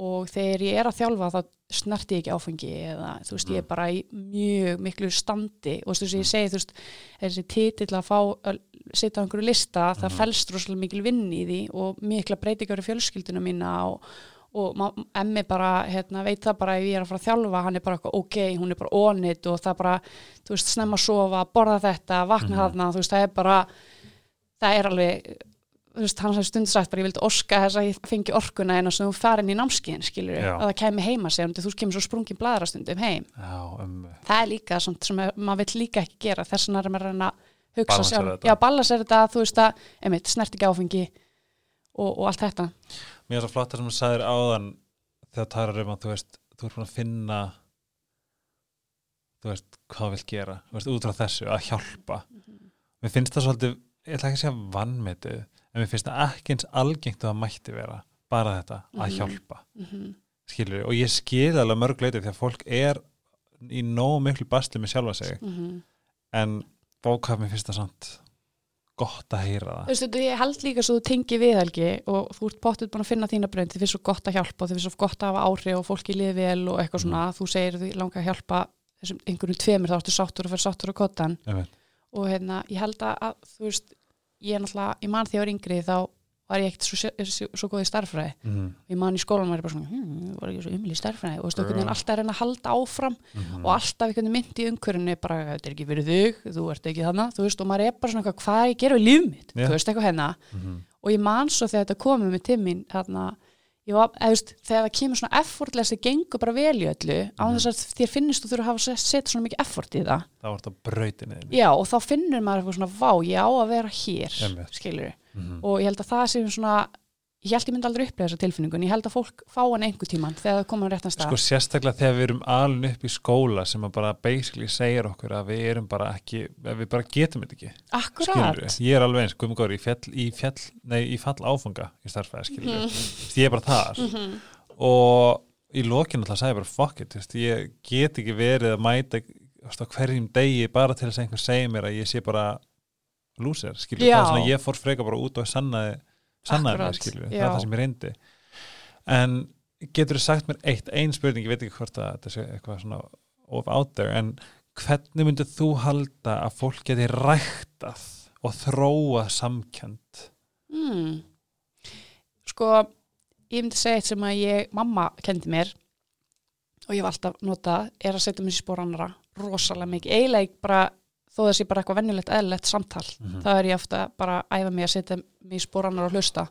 og þegar ég er að þjálfa þá snerti ég ekki áfengi eða þú veist, ég er bara í mjög miklu standi og þú veist, ég segi, þú veist þessi titill að fá að sitja á einhverju lista, það fælst rosalega mikil vinn í því og mikla breytingar í fjölskylduna mína og, og ma- emmi bara, hérna, veit það bara ef ég er að fara að þjálfa, hann er bara eitthvað ok, hún er bara onit og það bara, þú veist, snemma að sofa, borða þetta, vakna
Mhm.
þarna, þú veist, það er bara það er alveg þú veist, hann sem stund sagt bara ég vildi oska þess að ég fengi orkuna en þess að þú farin í námskiðin skilur
Já.
að það kæmi heima sig, þú kemur svo sprungin bladrastundum heim,
Já, ömmu
það er líka samt sem að- maður vill líka ekki gera, þess vegna er maður að reyna að hugsa
Balansera
sjálf,
þetta.
já, balans er þetta þú veist að, einmitt, snert ekki áfengi og, og allt þetta
Mér er svo flott það sem þú sagðir áðan þegar þú talar um að þú veist þú ert búin að finna þú veist hvað þú vilt gera þú veist út frá þessu að hjálpa
Mhm.
Mér finnst það svolítið, ég ætla ekki að segja vannmetið en mér finnst það ekki eins algengt og það mætti vera, bara þetta að
Mhm.
hjálpa,
mm
skilur og ég skil alveg mörg leiti því að fólk er í nóg miklu bastli með sjálfa sig
mhm.
en bókað mér finnst það samt gott að heyra það
Þú veist, þetta- ég held líka svo þú tengi við helgi og þú ert bóttið búin að finna þína brönd, þið finnst svo gott að hjálpa og þið finnst svo gott að hafa áhrif og fólki liði vel og eitthvað svona,
Mm.
þú segir því langa að hjálpa þessum einhvernum tveimur, þá ertu sáttur að fyrir sáttur á kottan
Einmitt.
og hérna, ég held að, að þú veist, ég er náttúrulega, ég man þegar ég var yngri þá var ég ekkert svo, sé- svo, svo góð í starffræði
Mhm,
ég man í skólanum var ég bara svona, hm, var ekki svo umil í starffræði og þú veist, okkur
Já.
en alltaf að reyna að halda áfram
mhm.
og alltaf einhvern mynd í umhverfinu bara, þetta er ekki fyrir þig, þú ert ekki þarna þú veist, og maður er bara svona eitthvað, hvað er ég að gera við líf mitt
Já.
þú veist, eitthvað hérna,
Mhm.
og ég man svo þegar þetta komið með timmin, þarna ég var, eða, þú veist, þegar það kemur svona effortless það gengur bara vel í öllu á
Mhm.
þess að þér finnist þú þurfa að hafa sett- sett svona mikið effort í það,
Það var þetta brautinni
já, og þá finnur maður eitthvað svona, vá, ég á að vera hér
Einmitt.
skilur,
Mhm.
og ég held að það sem svona ég held ég myndi aldrei upplega þessa tilfinningun ég held að fólk fá hann einhver tíman þegar það komið á réttan stað
Sko sérstaklega þegar við erum alun upp í skóla sem að bara basically segir okkur að við erum bara ekki, að við bara getum þetta ekki
akkurat,
skilurðu. Ég er alveg eins, guðmur góður, í fjall, í fjall nei, í fall áfunga í starfæði, skilur
Mhm.
Ég er bara þar og í lokinu alltaf sagði ég bara fuck it, þú veist, ég get ekki verið að mæta þú veist, á hverjum degi bara til þess að einhver segir mér að ég sé bara lúsir, skilur,
Já.
það er svona að ég fór freka bara út og sannaði, sannaði
Akkúrat,
mér, skilur, það
já.
er það sem ég reyndi en getur þú sagt mér eitt ein spurning, ég veit ekki hvort að þetta sé eitthvað svona of out there en hvernig myndið þú halda að fólk geti ræktað og þróa samkjönd
Mm. Sko, ég myndi segja eitt sem að ég, mamma kendi mér og ég var alltaf notað, er að setja mér í spór annara rosalega mikið. Eiginlega ég bara, þó þess ég bara eitthvað venjulegt eðlilegt samtal,
Mhm.
þá er ég ofta bara að æfa mig að setja mig í spór annara og hlusta.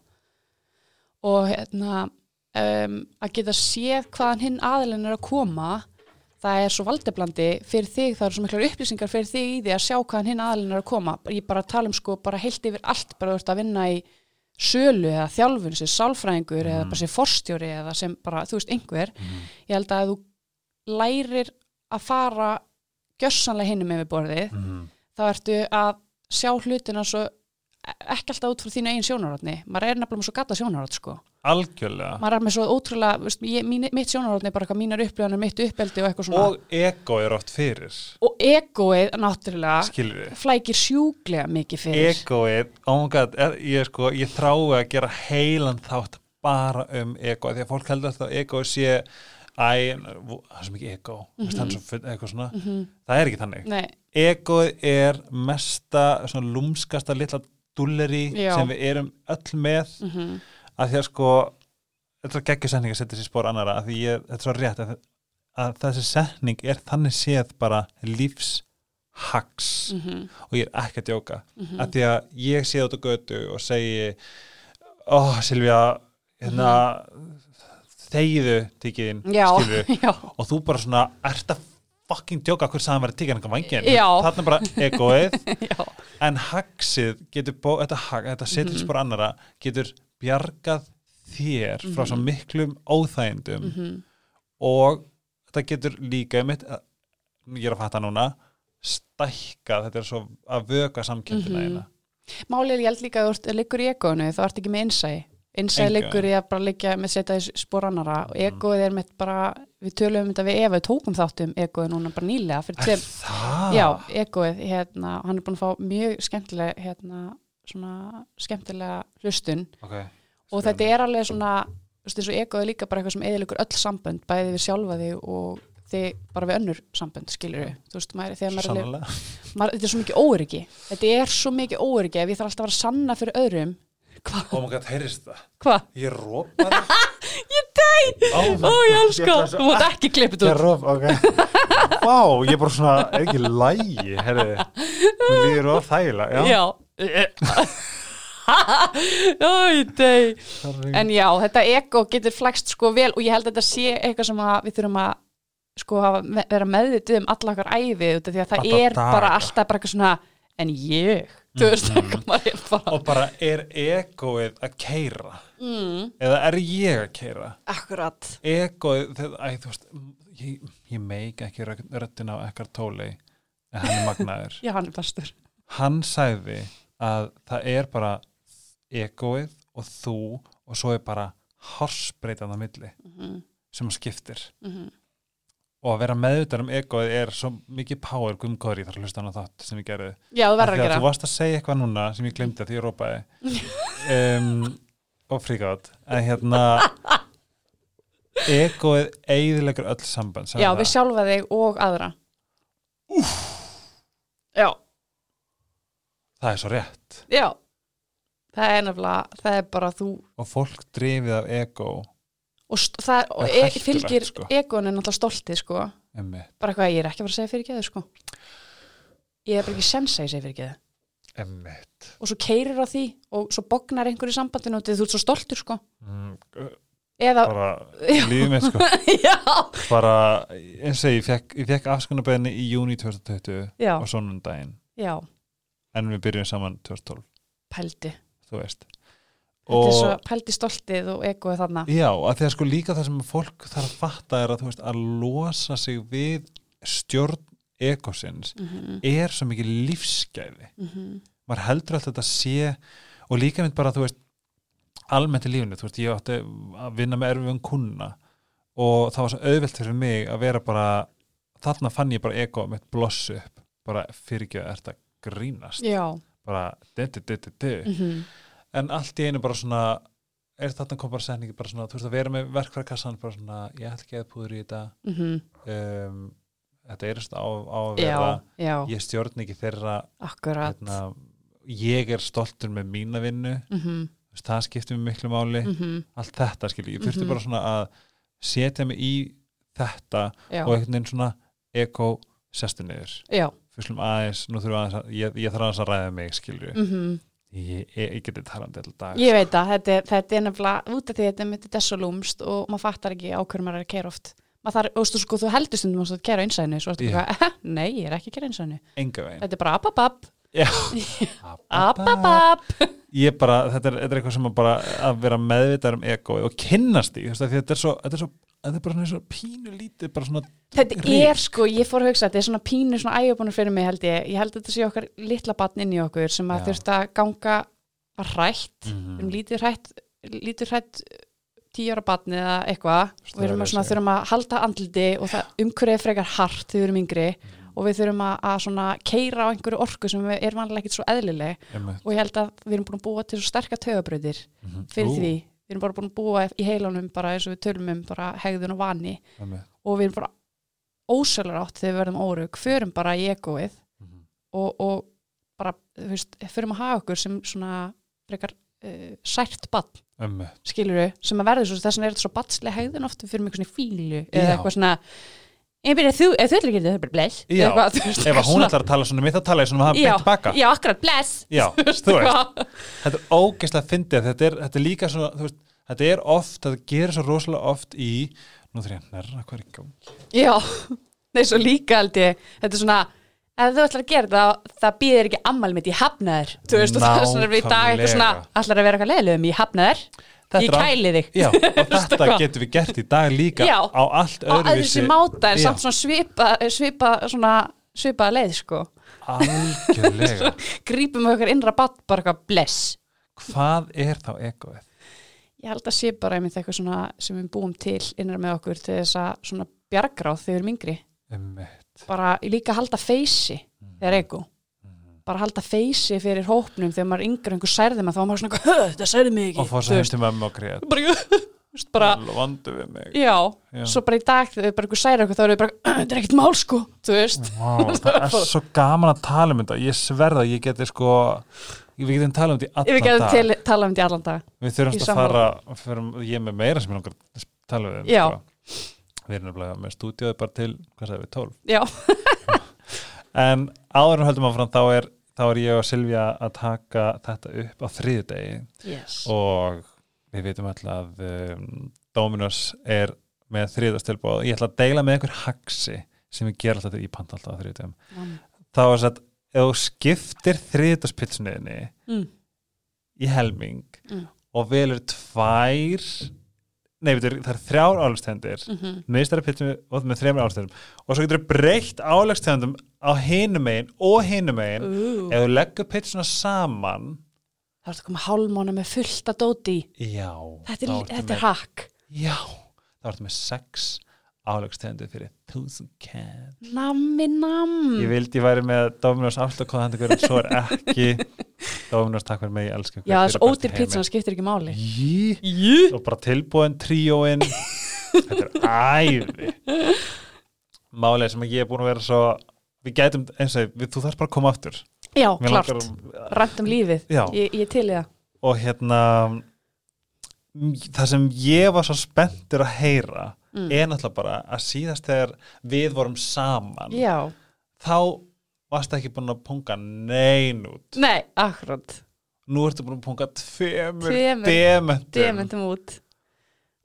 Og hérna, um, að geta séð hvaðan hinn aðilinn er að koma, það er svo valdeblandi fyrir þig, það eru svo miklar upplýsingar fyrir þig í því að sjá hvaðan hinn aðilinn er að koma. Ég bara tala um sko, bara heilt yfir allt, bara þú ert að vinna í sölu eða þjálfun sem sálfræðingur eða bara sem forstjóri eða sem bara, þú veist, einhver ég held að ef þú lærir að fara gjörsanlega hinum yfir borðið
mm -hmm.
þá ertu að sjá hlutina svo e- ekki alltaf út frá þínu eigin sjónarotni maður er nefnilega með svo gata sjónarot sko
algjörlega
maður er með svo ótrúlega, veist, ég, mín, mitt sjónarotni er bara eitthvað mínar upplifanir, mitt uppeldi og eitthvað svona
og ego er oft fyrir
og egoið náttúrulega
skilur við
flækir sjúklega mikið fyrir
egoið, oh my god, er, ég, sko, ég þrái að gera heilan þátt bara um ego, af því að fólk heldur alltaf að ego sé æ, vú, það er svo mikið ego mm -hmm. hann er svo full- eitthvað svona
Mm.
það er ekki þannig
Mhm. Nei,
egoið er mesta, svona lúmskasta litla dulleri
Já.
sem við erum öll með
mm
að því að sko þetta er geggjur setning að setja sér spór annara að því ég, þetta er svo rétt að, að þessi setning er þannig séð bara lífshacks
Mm. mhm.
og ég er ekki að djóka að því að ég séð út á götu og segi ó oh, Silvja hérna þegiðu tíkiðin
Mhm. já,
skilur
já
og þú bara svona ert að fucking djóka hver sagði maður að tíkja hann vangin
Já.
þarna bara egoið
Já,
en haxið getur bó, þetta, hag, þetta setur mm
Mhm.
spór annara getur bjargað þér frá
Mhm.
svo miklum óþægindum og þetta getur líka mitt, ég er að fatta núna stækkað, þetta er svo að vöka samkjöndina mm
Mhm. málið er ég held líka að þú ert- liggur í egoinu þá ert ekki með innsæi innsæi
Engan.
liggur í að bara liggja með setja í spór annara og egoið er mitt bara við tölum um þetta við Eva, við tókum þáttum egoið núna bara nýlega fyrir
Er
tveim
það?
Já, egoið, hérna, hann er búin að fá mjög skemmtilega, hérna, svona skemmtilega hlustun
Okay.
og þetta er alveg svona, þú veist, eins og egoið er líka bara eitthvað sem eðilegur öll sambönd, bæði við sjálfa þig og þig bara við önnur sambönd, skilur við, þú veist, maður, þegar maður er alveg,
Sannlega.
maður, þetta er svo mikið óöryggi, þetta er svo mikið óöryggi ef ég þarf alltaf að vera að sanna fyrir öðrum, hvað,
Oh my god, heyrist það?
hvað,
Ég rópar Ég dæ!
ó, ég elska, þú mátt ekki klippið
Ég
út,
rof, ok Vá, ég er bara svona, er ekki lægi herri, mér líður of þægilega Já,
já, Æ, dei
sorry.
En já, þetta ego getur flækst sko vel og ég held að þetta sé eitthvað sem að við þurfum að sko hafa- vera meðvitið um alla okkar æfi út af því að það
Alla
er bara
daga.
alltaf bara eitthvað svona en ég, þú veist
Mm-hmm.
eitthvað maður er bara
og bara er egoið að keira
mm,
eða er ég að keira
Akkurat
egoið, þegar, æ, þú veist ég, ég meik ekki rödd- röddina á ekkar tóli en hann er magnaður
Já, hann er bestur
hann sagði að það er bara egoið og þú og svo er bara horsbreytan á milli
mm,
sem skiptir
mm,
og að vera meðvitað um egoið er svo mikið power gumkori þar að hlusta hann á þátt sem ég gerði
Já, þú
Af
verður
því
að
að
gera
þú varst að segja eitthvað núna sem ég glemdi að því ég rópaði um, og fríkátt en hérna egoið eigðilegur öll samband sagði
Já,
það.
við sjálfa þig og aðra Úff Já,
það er svo rétt
já Það er nefnilega, það er bara þú
og fólk drifið af ego
og, st- það, er- og
Það er
e
hættulegt,
fylgir
sko.
egoinu náttúrulega stoltið sko
emmitt,
bara eitthvað, ég er ekki að fara að segja fyrir geðu sko ég er bara ekki sens að ég segja fyrir geðu
emmitt
og svo keirir á því og svo bognar einhver í sambandinu og þú ert svo stoltur sko
mm,
eða,
bara
Já.
lífið mitt sko
já,
bara, eins og ég fekk, ég fekk afskunarbeðinni í júni 2020
já,
og sonnundaginn
já
en við byrjum saman 2012
pældi,
þú veist
þetta er svo pældi stoltið og egoið þarna
Já, að því að sko líka það sem fólk þarf að fatta er að þú veist að losa sig við stjórn ekosins
mm -hmm.
er svo mikið lífsgæði
Mm -hmm.
maður heldur alltaf að þetta sé og líka mynd bara þú veist almennt í lífinu, þú veist ég átti að vinna með erfum kunna og það var svo auðvelt fyrir mig að vera bara þarna fann ég bara ego mitt bloss upp bara fyrirgjöð er þetta grínast
já
bara dytti dytti dytti
mm
en allt í einu bara svona er þarna kom bara setningi bara svona þú veist að vera með verkfærakassan bara svona ég ætla ekki að púður í þetta um, þetta er svona á, á að
mhm. já,
vera
já,
ég stjórn ekki þeirra
akkurat
hérna, ég er stoltur með mína vinnu
mm -hmm.
þú veist, það skiptir mig miklu máli
Mm -hmm.
allt þetta skilji, ég þurfti
Mhm.
bara svona að setja mig í þetta
já,
og einhvern veginn svona eko sestu niður
já
fyrstum aðeins, nú þurfum aðeins að, ég, ég þarf aðeins að ræða mig skilju
mm
ég, ég, ég geti talandi alltaf dag
ég veit að þetta, er- þetta er nefnilega út af því að þetta er mitt er svo lúmst og maður fattar ekki á hverju maður er að keira oft maður þar, þú veist, sko, þú heldur stundum að þú ert að keira einsæðinu, svo ertu
Já.
yeah. hvað, nei, ég er ekki að keira einsæðinu
enga veginn
þetta er bara ababab,
Abba.
ababab
ég bara, þetta er, þetta er eitthvað sem að bara að vera meðvitað um egoið og kynnast því, þú veist, af því þetta er svo þetta er, svo, þetta er bara svona, svona pínu lítið bara svona,
þetta
Rík.
er sko, ég fór að hugsa þetta er svona pínu, svona ægjöpunum fyrir mig held ég ég held að þetta sé okkar litla batn inn í okkur sem að
Já.
þurft að ganga var hrætt,
Mhm,
við
Mm.
erum um lítið hrætt lítið hrætt eh, tíu ára batni eða eitthvað og við erum að svona,
Stöðuleysi.
þurfum að halda andliti og það umhverfið er frekar hart þegar við erum yngri og við þurfum að, að svona keira á einhverju orku sem er vanlega ekkit svo eðlileg
Einmitt.
og ég held að við erum búin að búa til svo sterka tögabröðir
Mhm.
fyrir
Ú,
því við erum bara búin að búa í heilanum bara eins og við tölum um bara hegðun og vani
einmitt.
og við erum bara ósölar átt þegar við verðum órug, förum bara í egoið
Mhm.
og, og bara, þú veist, förum að hafa okkur sem svona frekar uh, sært bann
Einmitt.
skilur við, sem að verður svo þess að er þetta svo batslega hegðun oft fyrir mig svona fílu eða
Já.
eitthvað svona ég byrja þú, ef þú ætlar ekki þetta, það er bara bless
Já.
eitthvað, þú veist,
Ef að hún
svona-
ætlar að tala svona mitt þá tala ég svona um að hafa
já,
beint baka
já, akkurat bless
Já, þú veist
Eitthvað.
Þetta er ógeðslega fyndið þetta er, þetta er líka svona, þú veist, þetta er oft þetta gerir svo rosalega oft í nú þurfum ég að nærra hvað er í gang
já, nei, svo líka held ég þetta er svona, ef þú ætlar að gera það það býðir ekki ammal mitt, ég hafna þér þú veist, og það er svona við í dag eitthvað svona
Nákvæmlega.
ætlar að vera eitthvað leiðilegum, ég hafna þér
Þetta
ég
er al-
kæli þig
Já, og þetta
hvað?
getum við gert í dag líka
Já.
á allt
á
öðruvísi
öðruvísi máta en
Já,
samt svona svipa, svipa svona svipaða leið sko
Algjörlega
grípum við okkar innra batt bara eitthvað bless
Hvað er þá egoið?
Ég held að sé bara einmitt eitthvað svona sem við búum til innar með okkur til þess að svona bjargráð þegar við erum yngri.
Einmitt.
Bara líka halda feysi þegar
Mhm.
ego. Bara halda feysi fyrir hópnum þegar maður er yngri og einhver særði maður þá var maður svona eitthvað, "Hö, þetta særði mig ekki.
Og fór
Þú
svo heim
veist,
til mömmu og grét
bara, þú veist, bara,
Vandu við mig
já,
Já.
svo bara í dag þegar bara einhver særði okkur þá erum við bara, þetta er ekkert mál sko, þú veist.
Vá, það er svo gaman að tala um þetta ég sverða, ég geti sko við getum talað um þetta í
Við
allan
getum
dag
til, tala um þetta í allan dag.
við
í
þurfum að
samráði.
fara fyrum, ég er með meira sem ég langar að tala um
Já.
við erum nefnilega með stúdíóið bara til hvað sagði við, 12
Já,
en áður en höldum áfram þá er, þá er ég og Silvja að taka þetta upp á þriðudegi
yes.
og við vitum alltaf að um, Dominos er með þriðastilbóð ég ætla að deila með einhver haksi sem ég ger alltaf í panta alltaf á þriðudegum þá er satt, ef þú skiptir þriðdaspitsuninni
Mm.
í helming
Mm.
og velur tvær nei, veitur, það er þrjár álagstendir
Mm -hmm.
miðstæra pittum og með þremur álagstendum og svo getur breytt álagstendum á hinum megin og hinum megin
uh.
ef þú leggur pitsuna saman
Það er að koma hálmána með fullta dóti. í.
já,
Þetta
þá
er,
ertu
þetta er
með,
hakk.
já, þá ertu með sex álagstendur fyrir thousand cat
Nammi, namm.
ég vildi ég væri með Dominos afslökkóða handakur en svo er ekki Dominos takk fyrir mig, ég elska ykkur
Já, þessu
Fyrir
ódýr
bestu
pítsan skiptir ekki máli.
Jí,
Jú.
og bara tilbúin tríóin þetta er æði málega sem ég er búin að vera svo við gætum, eins og ég, við, þú þarfst bara að koma aftur
Já,
Mér
klart.
langar-
Rætt um lífið.
Já.
Ég, ég til í það.
og hérna m- það sem ég var svo spenntur að heyra
Mm.
er náttúrulega bara að síðast þegar við vorum saman
Já.
þá varst ekki búin að punga nein út
Nei, akkurat.
nú ertu búin að punga tveimur
Tveimur
dementum
Dementum út.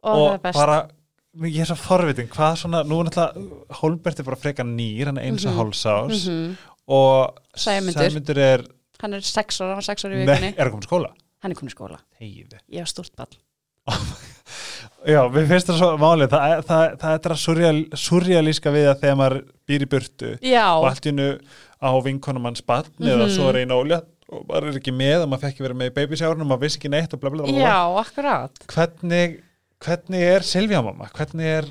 Og, það
og
er best.
bara ég er svo forvitin, hvað svona nú er náttúrulega, Holbert er bara frekar nýr hann er eins og mm
Mhm.
hálsás
Mhm.
og
Sæmundur.
Sæmundur er
Hann er sex ára, hann er sex ára í
nei,
vikunni.
er að koma í skóla
Hann er komin í skóla.
Heiði.
Ég var stúrt bann.
já, mér finnst það svo málið það, það, það er það surreal, surrealíska við að þegar maður býr í burtu og
Já.
allt í innu á vinkonum hans barn eða
Mhm.
svo er einu ólega og maður er ekki með og maður fekk ekki verið með í babysjárunum og maður vissi ekki neitt og bla bla bla, bla.
Já, akkurat.
Hvernig, hvernig er Silvja mamma? hvernig er,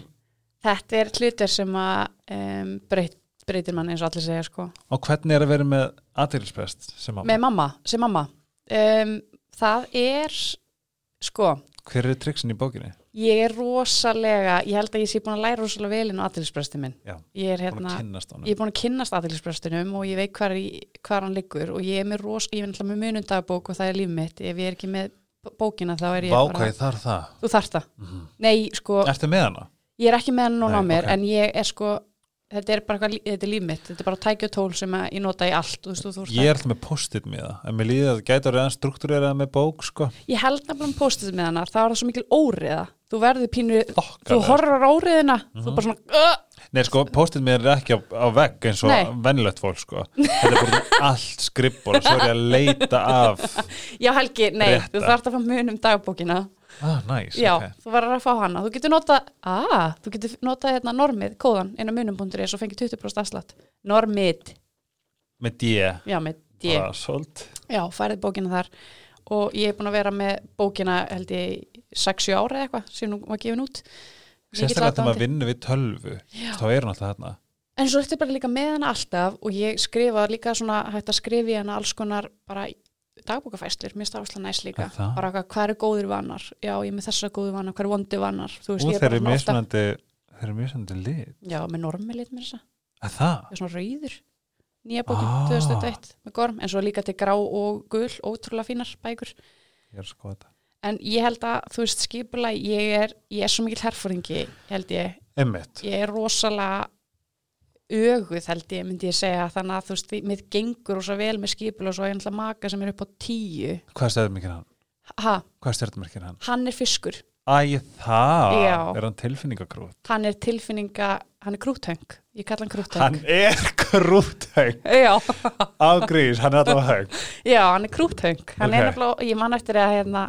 Þetta er hlutir sem að um, breyt, breytir mann eins og allir segja, sko.
og hvernig er að vera með aðeinsprest sem mamma?
Með mamma, sem mamma. Um, það er, sko,
Hver eru triksin í bókinni?
Ég er rosalega, ég held að ég sé búin að læra rosalega vel inn á aðeinsbrestið minn.
Já,
Ég er
búin
hérna,
að kynnast honum.
ég er búin að kynnast aðeinsbrestinum og ég veit hvar, í- hvar hann liggur og ég er með ros, ég er náttúrulega með munundagabók og það er líf mitt. Ef ég er ekki með b- bókina þá er ég
Vákvæði
bara,
þar það.
þú þarft það. Nei, sko,
Ertu með hana?
ég er ekki með hann núna á
Mhm. Nei,
mér
ok.
en ég er sko, þetta er bara eitthvað, lí- þetta er líf mitt, þetta er bara tæki og tól sem að ég nota í allt. Þú veist, þú, þú,
Ég er alltaf með post-it með það. En mér líði að það gætur eða struktúrera með bók, sko.
ég held nefnilega um postið með hana, þá er það svo mikil óriða. Þú verður pínu, þú
Þokkalega.
horfur á óriðina,
Mhm.
þú bara svona, uh,
Nei, sko, post-it með er ekki á, á vegg eins og
Nei.
vennilegt fólk, sko. Þetta er bara um allt skrippur og svo er ég að leita af.
Já Helgi, nei,
Rétta.
þú þarft að fá mun um dagbókina
Ah, næs,
Já,
ok.
þú verður að fá hana Þú getur nota, að, þú getur nota hérna normið, kóðan, inn á munum.is og fengið 20% afslátt Normið,
Með D.
já með D
Bara svolít.
Já, færið bókina þar og ég er búin að vera með bókina held ég 6-7 ára eða eitthvað sem hún var gefin út Mikill
Sérstaklega þetta maður
aðdáandi.
vinnu við tölvu
Já.
þá er hún alltaf þarna
En svo ertu bara líka með hana alltaf og ég skrifa líka svona, hægt að skrifa í hana alls konar bara í dagbókafæslur, mér stafsla næst líka.
Er það?
Bara eitthvað, hvað eru góðir vannar? Já, ég er með þessa góðir vannar, hvað eru vondir vannar? Þú
og
ég
þeir
bara
eru
svona alltaf-
mismunandi þeir eru mismunandi lit
Já, með normi lit mér þessa.
að það,
Ég er svona rauður. Nýja bókin,
Ah.
2001, með gorm. En svo líka til grá og gul, ótrúlega fínar bækur.
ég er að skoða þetta
En ég held að, þú veist, skipulega, ég er, ég er svo mikill herfóringi, held ég,
Emmitt,
ég er rosalega öguð held ég myndi ég segja þannig að þú veist, mér gengur rosa vel með skipul og svo er ég náttúrulega maka sem er upp á tíu
hvað er stjörnmerkir hann?
ha,
Hvað er stjörnmerkir hann?
hann er fiskur
Æ, það,
Já.
er hann tilfinningakrút
hann er tilfinninga, hann er krúthöng ég kalla hann krúthöng
Hann er krúthöng
Já,
ágrís, hann er alltaf höng
já, hann er krúthöng hann
Ok.
er nefnilega, ég man eftir að hérna,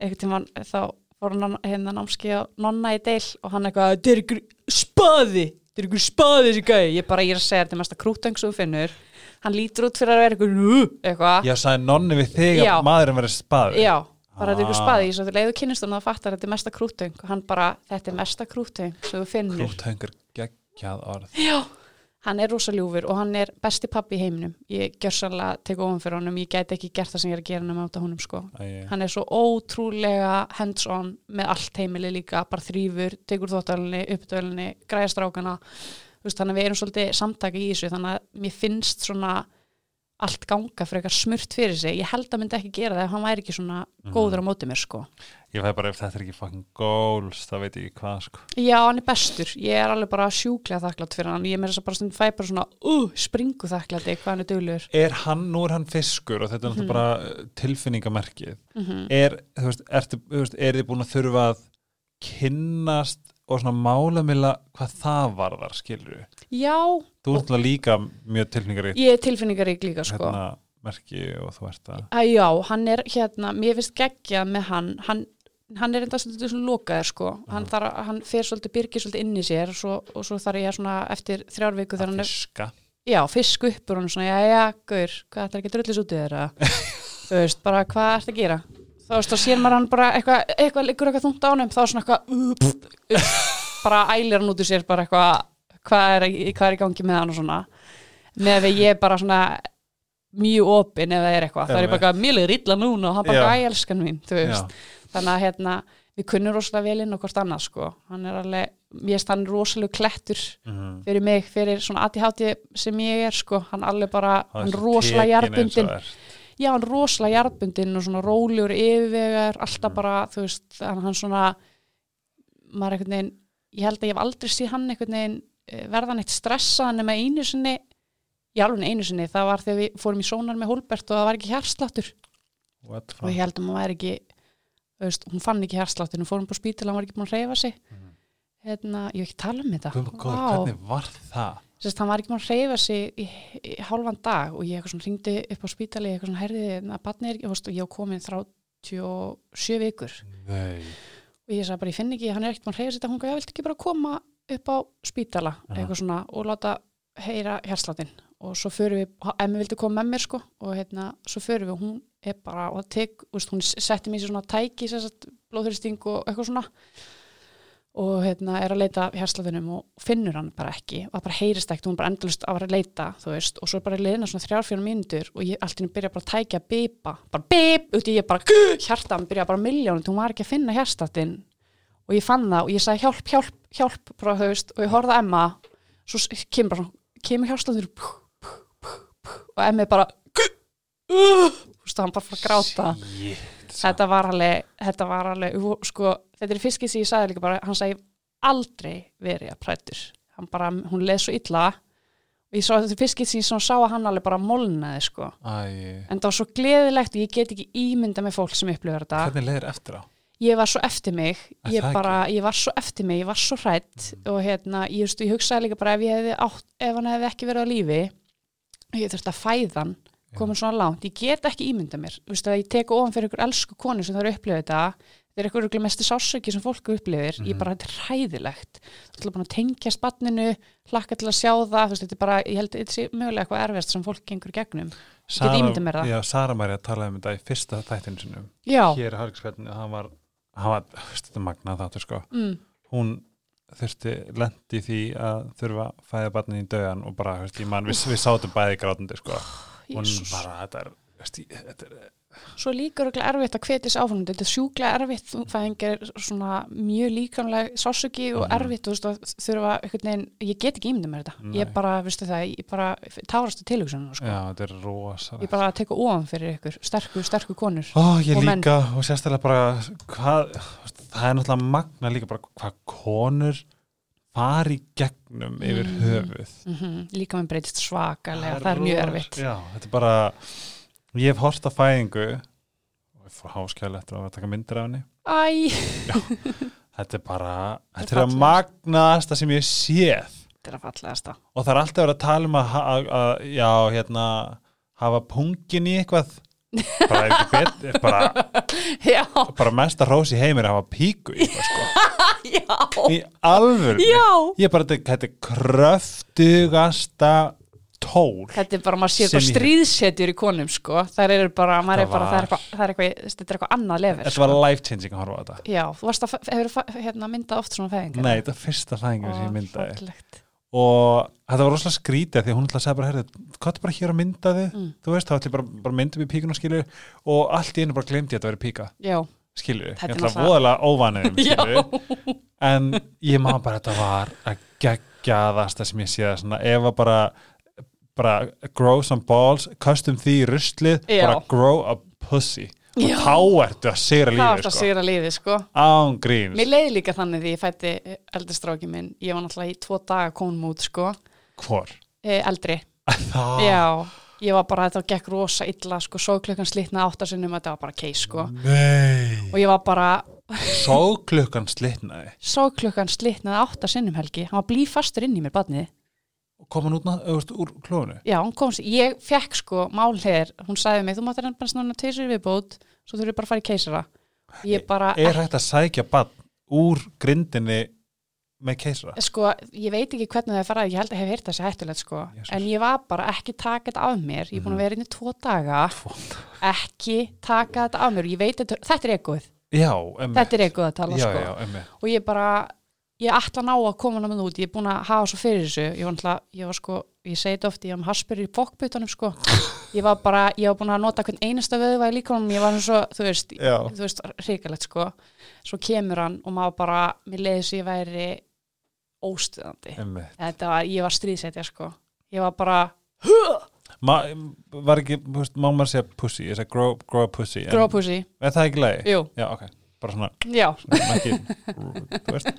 einhvern tímann þá fór hann á- hérna námski og nonna í deil og hann eitthvað, þetta er ykkur spaði þetta er ykkur spaði þessi gæði ég bara, ég er að segja, þetta er mesta krúthöng sem þú finnur hann lítur út fyrir að vera ykkur "Ú", eitthvað
Já, sagði nonni við þig
Já.
að maðurinn verið spaði
Já, bara þetta er ykkur
Ah.
spaði í þessu leiðu kynnist hann og það fattar að þetta er mesta krúttöng og hann bara, þetta er mesta krúttöng sem þú finnur.
Krúthöng er geggjað orð
Já, hann er rosa ljúfur og hann er besti pappi í heiminum. Ég gjörsanlega tek ofan fyrir honum, ég gæti ekki gert það sem ég er að gera nema út af honum sko.
Æ,
Hann er svo ótrúlega hands-on með allt heimili líka, bara þrýfur, tekur þóttölinni, upptölinni, græðastrákana. Þú veist, þannig að við erum svolítið samtaka í þessu, þannig að mér finnst svona allt ganga fyrir eitthvað smurt fyrir sig. Ég held að myndi ekki gera það ef hann væri ekki svona góður á móti mér sko.
Ég fæði bara ef þetta er ekki fucking goals þá veit ég ekki hvað sko
Já, hann er bestur. Ég er alveg bara sjúklega þakklátt fyrir hann. Ég er meira þess að bara stundum fæ bara svona, uh, springu þakklátti, hvað hann er döglegur.
Er hann, nú er hann fiskur og þetta er
Mhm.
náttúrulega bara uh, tilfinningamerkið er, þú veist, ertu, þú veist, er þið búin að þurfa að kynnast og svona málamilla hvað það varðar, skilur við
Já,
þú ert náttúrulega líka mjög tilfinningaríkt
ég er tilfinningarík líka, sko.
hérna merki og þú ert að
Að já, hann er hérna, mér finnst geggjað með hann, hann, hann er enda svolítið svona lokaður sko, hann, þar, hann fer svolítið byrgið svolítið inn í sér og svo, og svo þarf ég svona eftir þrjár viku
að
þegar hann er,
fiska
já, fisk uppur hann svona, já, já, gaur, hvað ætlar ekki að drullis út í þeirra, þú veist, bara hvað ert að gera, þá veist, þá sér maður hann bara eitthvað, eitthvað, liggur eitthvað þungt á hann þá svona eitthvað, uh, pff, uh, bara ælir hann út í sér, bara eitthvað, hvað er, í- hvað er í gangi með hann og svona, með að ég er bara svona mjög opinn ef það er eitthvað það er ég bara eitthvað, mjög illa núna og hann bara
Já.
eitthvað, "Æ, elskan mín, þú
Já.
veist þannig að hérna, við kunnum rosalega vel inn og hvort annað sko, hann er alveg ég er hann rosalega klettur
Mhm.
fyrir mig, fyrir svona ADHD sem ég er sko, hann alveg bara
Það er
hann
svo
rosalega
tekin eins og
jarðbundin
er.
já, hann rosalega jarðbundin og svona rólegur yfirvegar, alltaf
Mm.
bara þú veist, hann, hann svona maður einhvern veginn, ég held að ég hef aldrei séð hann einhvern veginn eh, verða neitt stressaðan nema einu sinni í alveg einu sinni, það var þegar við fórum í sónar með Hólbert og það var ekki hjarsláttur
What the fuck?
og ég held að maður væri ekki þú veist, hún fann ekki hjarsláttur, hún fórum på spítala hann var ekki búin að reyfa sig hérna, ég hef ekki tala um þetta
Mm. Guð minn góður,
Vá.
hvernig var það?
Sest, hann var ekki maður að hreyfa sig í, í hálfan dag og ég eitthvað svona ringdi upp á spítali eitthvað svona herðið að batni er ekki þú veist, og ég á komin 37 vikur
Nei,
og ég sagði bara ég finn ekki, hann er ekkert maður að hreyfa sig þetta hún gaf, ég vilt ekki bara koma upp á spítala
Aha.
eitthvað svona og láta heyra hjartsláttinn og svo förum við, emmi vildi koma með mér sko og hérna, svo förum við og hún er bara og það tek, úst, hún setti mér í svona tæki sérst, blóðþuristing og eitthvað svona og hérna er að leita hérslaðunum og finnur hann bara ekki og það bara heyrist ekkert, hún bara endalust að vera að leita þú veist, og svo er bara leina svona þrjár fjórum mínútur og ég allt í henni byrja bara að tækja að bipa bara bip, út í ég bara "Guh!" hjartan byrja bara miljónum, hún var ekki að finna hérstatinn og ég fann það og ég sagði hjálp, hjálp, hjálp bara, þú veist, og ég horfði á Emma svo s- kemur bara, svona, kemur hérslaður og Emma er bara "Guh!" Uh, þú veist, hann bara fór að gráta
shit,
þetta var alveg, þetta var alveg ú, sko, þetta er fiskið sem ég sagði líka bara hann sagði aldrei verið að prættur hann bara, hún leð svo illa og ég sá þetta er fiskið sem ég svona sá að hann alveg bara molnaði sko
Æ,
en það var svo gleðilegt og ég get ekki ímynda með fólk sem upplifur þetta
hvernig leiðir eftir á?
ég var svo eftir mig
Er
ég,
það
bara, ég var svo eftir mig, ég var svo hrætt og hérna, ég, veist, ég hugsaði líka bara ef, ég hefði átt, ef hann hefði ekki verið á lífi og ég þurfti að fæða hann komin svona langt, ég get ekki ímynda mér þú veist að ég teka ofan fyrir ykkur elsku konu sem það eru upplifið þetta þetta er ykkur ykkur mestu sásöki sem fólk upplifir,
Mhm.
ég bara, þetta er hræðilegt þú ætla bara að tengja spanninu hlakka til að sjá það, þú veist, þetta er bara ég held að þetta sé mögulega eitthvað erfiðast sem fólk gengur í gegnum
Sara-
ímyndað mér það.
Já, Sara Marja talaði um þetta í fyrsta þættinu sinum
já,
hér í Hargsfjallinu, hann var hann var, veist, þetta er magnað þáttur sko
mm,
hún þurfti, lendi því að þurfa að fæða barnið í döðan og bara, veist, ég man, við, við sátum bæði grátandi sko, hún
Jesus.
bara, þetta er veist, ég- þetta er,
svo er líka röglega erfitt að hvetja sig áfram þetta er sjúklega erfitt, þungfæðing er svona mjög líkamlega sásöki og
Mhm.
erfitt, þú veist, að þurfa einhvern veginn, ég get ekki ímynda mér þetta
Nei.
ég bara, veistu það, ég bara tárastu tilhugsunum, sko,
já, þetta er rosa
ég bara teka ofan fyrir ykkur, sterku, sterku konur
Ó, ég
Og menn.
líka, og sérstaklega bara hvað, veist, það er náttúrulega magna líka bara hvað konur fari gegnum yfir
Mm.
höfuð
mm líka með breytist svakalega, það er mjög
ros-
erfitt
Já, þetta er bara ég hef hort að fæðingu og ég fór háskjæli eftir að taka myndir af henni
Æ,
þetta er bara,
er
þetta er að
fallegt.
magnaðasta sem ég séð
þetta er að fallegasta
og það er alltaf verið að tala um að, ha- að, að já, hérna hafa pungin í eitthvað bara ekki bet, er bara,
Já,
bara mesta hrós í heimir að hafa píku í eitthvað sko
já,
í alvöru
já
ég er bara, þetta þetta er kröftugasta tól
Þetta er bara, maður sér
Sem
bara
ég-
stríðsetjur í konum, sko það er bara, maður er
Það
bara, það
var-
er eitthvað, það er eitthvað þetta er eitthvað annað lefur,
þetta var life changing að horfa á þetta
Já, þú varst að, fe- hefur fa- hérna, myndað oft svona fæðingar?
Nei, þetta er fyrsta fæðingur sem ég myndaði
Fallegt.
og þetta var rosalega skrítið af því að hún ætlaði að segja bara, herrðu, hvað er bara hér að mynda þið
Mm.
þú veist, þá ætlaði bara, bara myndum í píkuna skilur og allt í einu bara glemdi ég að þetta verið píka
Já,
skilur, ég
Þetta er
ætla að
náttúrulega-
voðalega óvanum
Já.
skilur, en ég maður bara þetta var að geggjaðasta sem ég séða, svona ef að bara bara grow some balls custom því í ruslið,
Já.
bara grow a pussy og
Já.
þá ertu að sigra
það
lífið
var þetta að
sko,
sigra liðið, sko.
án gríns
Mér leiði líka þannig því ég fætti eldistráki minn. Ég var náttúrulega í tvo daga konum út, sko.
hvor?
E, eldri.
það
Já, ég var bara, þetta gekk rosa illa, sko. Sóklukkan slitnaði áttasinnum, þetta var bara keis, sko.
nei
Og ég var bara,
Sóklukkan slitnaði
sóklukkan slitnaði áttasinnum, Helgi. Hann var blífastur inn í mér, badnið.
og kom hann út ná- þú veist, úr klónu
Já, hún kom, sér- ég fekk sko málherr, hún sagði mig, þú mátt að reyna bara snána tveisur viðbót, svo þurfið bara að fara í keisara. Ég bara,
Er hægt að sækja bann úr grindinni með keisara?
sko, ég veit ekki hvernig það faraði, ég held að hef heyrt það sér hættulegt sko,
Jesus.
en ég var bara ekki taka þetta af mér, ég er
Mhm.
búin að vera inn í tvo daga, ekki taka þetta af mér, ég veit þetta, þetta er eguð,
Já, emmi
þetta er eguð að tala
Já,
sko,
já, emmi
og ég bara, ég ætla að ná að koma námið út, ég er búin að hafa svo fyrir þessu, ég var náttúrulega, ég var sko, ég segi þetta oft, ég var með haspur í bokkbutunum sko, ég var bara, ég var búin að nota hvern einasta vöðva í líkanum, ég var svo, þú veist,
Já,
þú veist, hrikalegt sko svo kemur hann og maður bara mér leiði þess að ég væri óstuðandi
emmi
þetta var, ég var stríðsetja sko ég var bara,
Ma, Var ekki, þú veist, má maður segja pussy Ég segja grow, grow a pussy en-
grópusi
Er það ekki lægi?
jú,
Já, ok, bara svona
já,
svona ekki, þú veist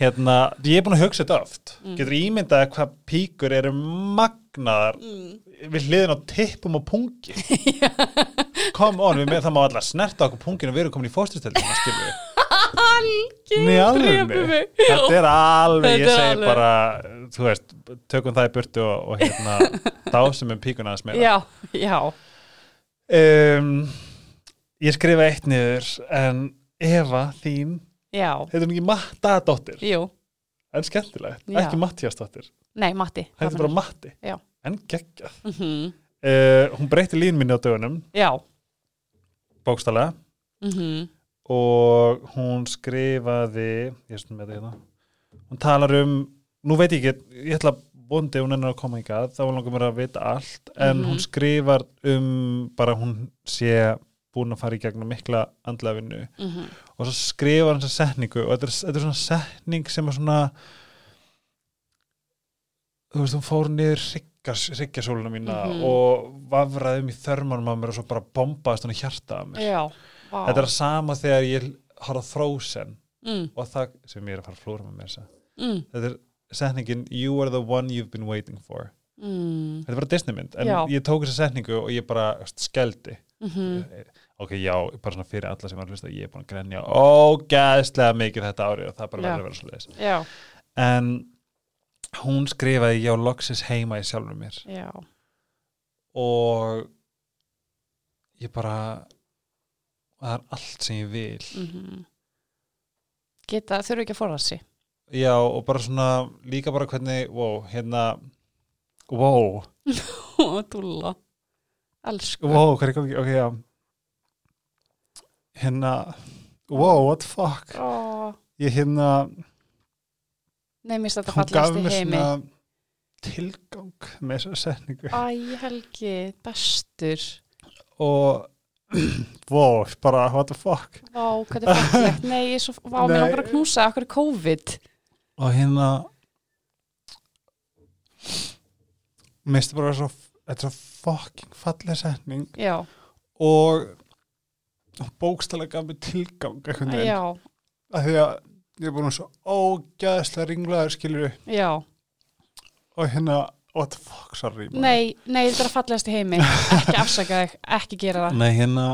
Hérna, ég er búin að hugsa þetta oft
Mm.
Getur ímyndað hvað píkur eru magnaðar
Mm.
við hliðin á tippum og pungi come on, við með það má allar snerta okkur pungin og við erum komin í fósturstöldina skilur við
drepa
alveg,
mig.
þetta er alveg ég
Þetta er
segi
alveg.
bara, þú veist tökum það í burtu og, og hérna dásum um píkuna aðeins meira
já, já
um, ég skrifa eitt niður en Eva þín
já,
heitir hún ekki Mattadóttir
jú,
en skemmtilegt,
Já.
ekki Mattiasdóttir
nei, Matti
heitir bara Matti,
Já.
en geggjað
Mhm,
uh, hún breytti lín minni á dögunum
já
bókstælega
mhm,
og hún skrifaði ég er stundum með þetta hérna hún talar um, nú veit ég ekki ég ætla vondi hún ennur að koma í gað þá langar mér að vita allt en
Mhm.
hún skrifar um bara hún sé búin að fara í gegnum mikla andlafinu
mhm,
og svo skrifar hann þessa setningu og þetta er, þetta er svona setning sem er svona þú veist, hún fór niður hryggjasóluna mína
Mhm.
og vafraði um í þörmanum af mér og svo bara bombaðist hún í hjarta af mér
já vá.
Þetta er sama þegar ég horf á Frozen
mm,
og það sem ég er að fara að flóra með mér þessa.
mm,
Þetta er setningin You are the one you've been waiting for.
mm,
Þetta er bara Disneymynd en
Já.
ég tók þessa setningu og ég bara þú veist, skeldi.
mhm,
Ok, já, bara svona fyrir alla sem var að hlusta ég er búin að grenja ógæðslega mikið þetta árið og það er bara
Já.
verður að vera svo leiðis.
já,
En hún skrifaði Já, loksis heima í sjálfur mér
já
og ég bara það er allt sem ég vil
-hmm. Geta, þurfa ekki að forða sig
já og bara svona líka bara hvernig, wow, hérna wow,
og dúlla Elsku
wow, hvað er í gangi ok, já hérna, wow, what the fuck
Ó,
ég hérna,
Nei, mér finnst þetta
hún gaf
fallegast í
mér
heimi
svona tilgang með þessa setningu
Æ, Helgi, bestur
og wow, bara what the fuck
Vá, hvað er fallegt Nei, ég er svo, vá, mér
Nei.
langar að knúsa Akkur er COVID
og hérna misti bara svo þetta er svo fucking falleg setning
Já,
og bókstælega gaf mér tilgang einhvern veginn,
já,
af því að ég er búin að svo ógæðslega ringlaður skilur
já
og hérna, what the fuck, sorry maður.
Nei, nei, þetta er að fallegast í heimi Ekki afsaka þig, ekki gera það
Nei, hérna,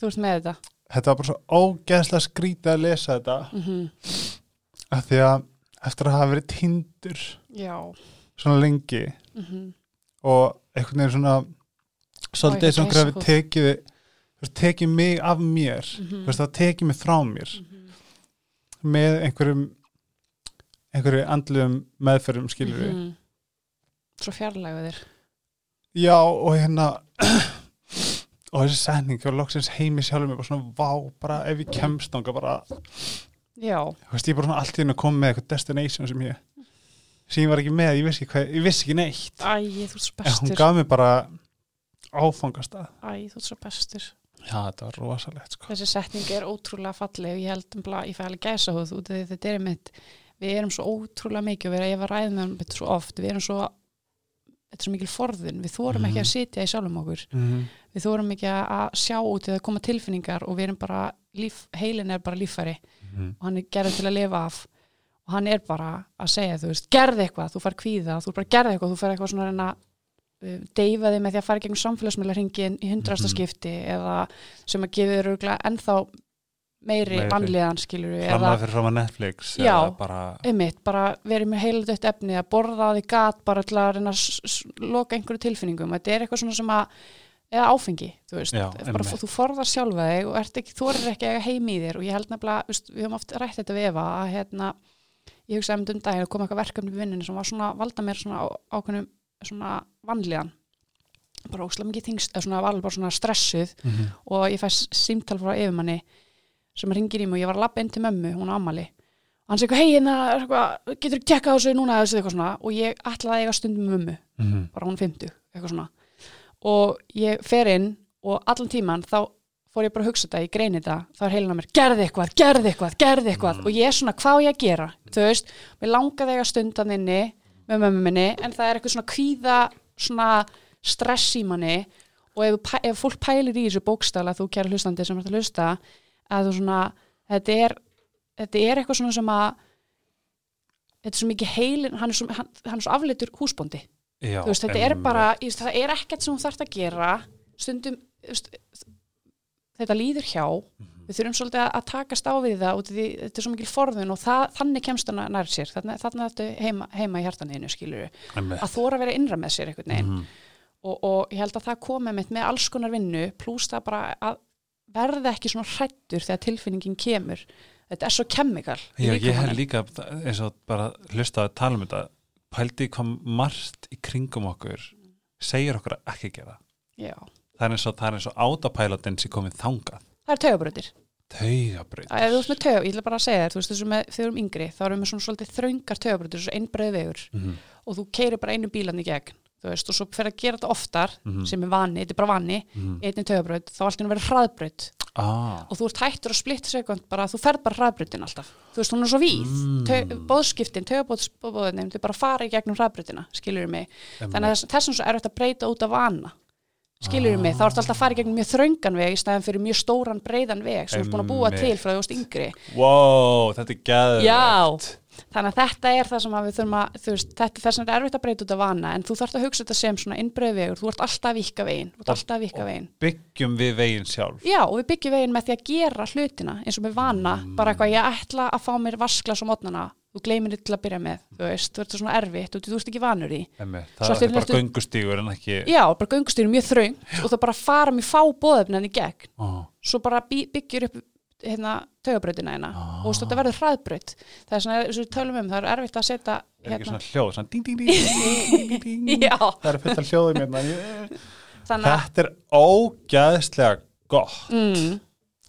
Þú ert með þetta
þetta var bara svo ógæðslega skrítið að lesa þetta
mm
af því að eftir að hafa verið tindur
Já
svona lengi
mm
og einhvern veginn svona
Ó, ég
svolítið
fæ
svona hverju hafi
gæsahúð.
tekið þú veist, tekið mig af mér mm
Mhm.
veist, það tekið mig frá mér
Mhm.
með einhverjum einhverju andlum meðferðum skilur við
Mhm. Svo fjarlægu þér
já og hérna og þessi setning og loksins heimi sjálfur mér bara svona vá bara ef ég kemst þangað bara
Já,
þú veist ég er bara svona allt í hennu að koma með eitthvað destination sem ég sem ég var ekki með, ég vissi ekki, hvað, ég vissi ekki neitt
æ, þú ert svo
en hún
bestur
gaf mér bara áfangastað
Æ, þú ert svo bestur
já þetta var rosalegt sko
Þessi setning er ótrúlega falleg og ég held um blá, ég fæ alveg gæsa hóð út af því þetta er mitt, við erum svo ótrúlega mikið og við erum, ég var ræðið með hann svo oft við erum svo, þetta er svo mikil forðun við þórum ekki að sitja í sjálfum okkur
mm
við þórum ekki að- að sjá út eða koma tilfinningar og við erum bara líf, heilin er bara líffæri
Mhm.
og hann er gerðið til að lifa af og hann er bara að segja, þú veist, gerð eitthvað þú fær kvíða, þú bara gerð eitthvað, þú fær eitthvað svona að reyna að uh, deyfa þig með því að fara gegn samfélagsmiðla hringin í hundrasta
Mhm.
skipti eða sem að gefa þér örgulega ennþá meiri
Meiri.
vanlíðan skilur við, eða
Framlega fyrir fram að Netflix
Já.
eða bara,
einmitt, bara verið með heiludött efni að borða því gat bara til að reyna að s- s- loka einhverju tilfinningum þetta er eitthvað svona sem að eða áfengi, þú veist,
Já,
bara,
einmitt.
þú forðar sjálfa þig og ert ekki, þú erir ekki að eiga heim í þér og ég held nefnilega, þú veist, við höfum oft rætt þetta við Eva að hérna, ég hugsaði um dundaginn að koma eitthvað verkefni við vinninu sem var svona, valda mér svona á- ákveðnum svona vanlíðan bara óslega mikið þingst, eða svona var alveg bara svona stressuð
Mhm.
og ég fæst símtal frá yfirmanni sem ringir í mig og ég var að labba inn til mömmu, hún á amali og hann segir, hei, hérna, eitthvað, getur þú tjekkað á þessu núna þessu eitthvað svona og ég ætlaði að eiga stund með mömmu,
Mhm.
bara hún 50 eitthvað svona og ég fer inn og allan tíman þá fór ég bara að hugsa þetta, ég greini þetta þá er heilin á mér, gerði eitthvað, gerði eitthvað, gerði eitthvað og ég er svona, hvað á ég að gera, þú veist mér langaði að eiga stund að inni með mömmu minni, en það er eitthvað svona kvíða svona stress í manni og ef, þú pæ- ef fólk pælir í þessu bókstala þú kæra hlustandi sem ert að hlusta að þú svona, þetta er þetta er eitthvað svona sem að þetta er svo mikið heilin hann er svo, hann, hann er svo afleitur húsbóndi
já,
þú veist, þetta er
einmitt.
bara, ég veist, það er ekkert sem hún þarf að gera stundum þú veist, þetta líður hjá
Mhm.
við þurfum svolítið að- að takast á við það út af því þetta er svo mikil forðun og það, þannig kemst hann nær sér, þannig, þannig þetta heima, heima í hjartaninu skilur við,
Einmitt.
að þóra að vera innra með sér einhvern
Mhm.
veginn og, og ég held að það komi mitt með alls konar vinnu pluss það bara að verða ekki svona hrættur þegar tilfinningin kemur þetta er svo kemikal
já, ég hef líka eins og bara hlusta að tala um þetta pældi kom margt í kringum okkur segir okkur að ekki gera
Já.
það er eins og, það er eins og átapælotin sem komið þangað
það er taugabröðir
taugabrið
ef þú ert með taug, ég ætla bara að segja þér þú veist þessu með, þegar við erum yngri, þá erum við svona svolítið þröngar taugabröðir, svo einbreið vegur
Mhm.
og þú keirir bara einu bílan í gegn þú veist, og svo fer að gera þetta oftar
Mhm.
sem er vani, þetta er bara vani
Mhm.
einni taugabröð, þá allt í einu verður hraðbröð
ah,
og þú ert hættur að splitt sekund bara þú ferð bara hraðbrutin alltaf þú veist, hún er svo
Mm.
víð, mm. bóðskiptin tögabóðskiptin, þau bara fara í gegnum hraðbrutina skilur mig, þannig að þess- þessum svo er þetta að breyta út af vana
Ah.
skilur mig, þá ertu alltaf að fara í gegnum mjög þröngan veg í stæðan fyrir mjög stóran breyðan veg sem þú ert búin að búa
Einmitt.
til frá því þú veist yngri
wow, þetta er gæður
Já, þannig að þetta er það sem að við þurfum að, þú veist, þetta er þess að er erfitt að breyta út af vana, en þú þarft að hugsa þetta sem svona innbreyðvegur, þú ert alltaf að vika veginn, þú ert alltaf að vika veginn.
byggjum við veginn sjálf
Já, og við
Mm.
byggjum veginn með því að gera hlutina eins og með vana, bara eitthvað ég ætla að fá mér vaskla svo mótnana, þú gleymir þetta til að byrja með þú veist, þú ert svona erfitt og þú ert ekki vanur í
Einmitt,
Svo
það það
allt í einu
er bara
ertu-
göngustígur en ekki
já, bara göngustýrum mjög þröng og það bara fara mér fá bóðefnin í gegn
Ó,
svo bara by, byggjur upp hérna, taugabrautina hérna
Ah.
og þú veist, þetta verður hraðbraut það er svona, eins og við tölum um, það er erfitt að setja hérna
er ekki svona hljóð svona ding, ding, ding, ding, ding, ding, ding.
já,
það er fullt af hljóðum hérna.
þannig að
þetta er ógæðslega gott
mm,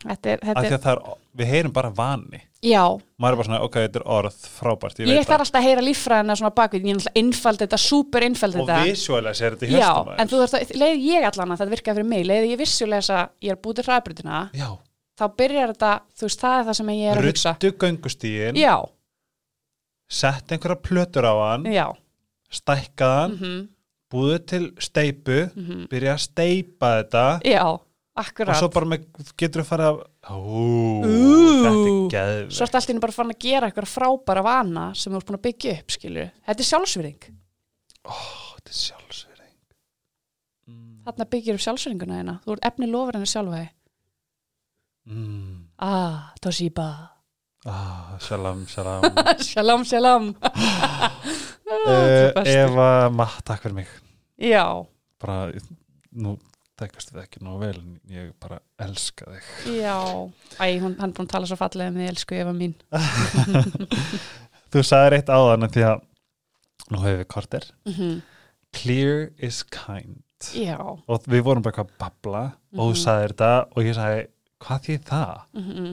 þetta er,
af
þetta
því
er
að það er, við heyrum bara vani
já,
maður er bara svona, ok, þetta er orð frábært ég
ég
veit
þarf alltaf að heyra líffræðina svona bakvið, ég er alltaf innfald þetta súper innfald
og
um þetta
visuálega sér þetta í
já,
höstum
en þú þarft að, leið ég allan að það virka fyrir mig, leið ég vissulega þess að ég er búið til hraðbrutina,
já,
þá byrjar þetta þú veist, það er það sem ég er að hugsa
ruttu göngustígin
já,
sett einhverja plötur á hann
já
stækkaðan,
mm
búðu til steipu
Mhm.
byrja að steipa þetta
já,
og
akkurat
svo
svo,
bara með, getur þú farið að ú,
Ú.
þetta er geðvikt
ertu allt í einu bara farin að gera eitthvað frábæra vana sem þú ert búin að byggja upp, skilur þetta er sjálfsvering,
þetta er sjálfsverið
þarna byggir upp sjálfsveringuna þeina, þú ert efni lofur henni sjálfa þig
mm.
ah, Toshiba
ah, salam, salam
shalom, shalom
uh,
bestur.
Eva, maður, takk fyrir mig
já,
bara, nú tekast við ekki nóg vel en ég bara elska þig
já æ, hún, hann er búin að tala svo fallega með elsku Eva mín
þú sagði eitt áðan af því að nú hefur við korter
mm
clear is kind
já,
og við vorum bara eitthvað að babla og þú
Mhm.
sagði þetta og ég sagði hvað því það
mm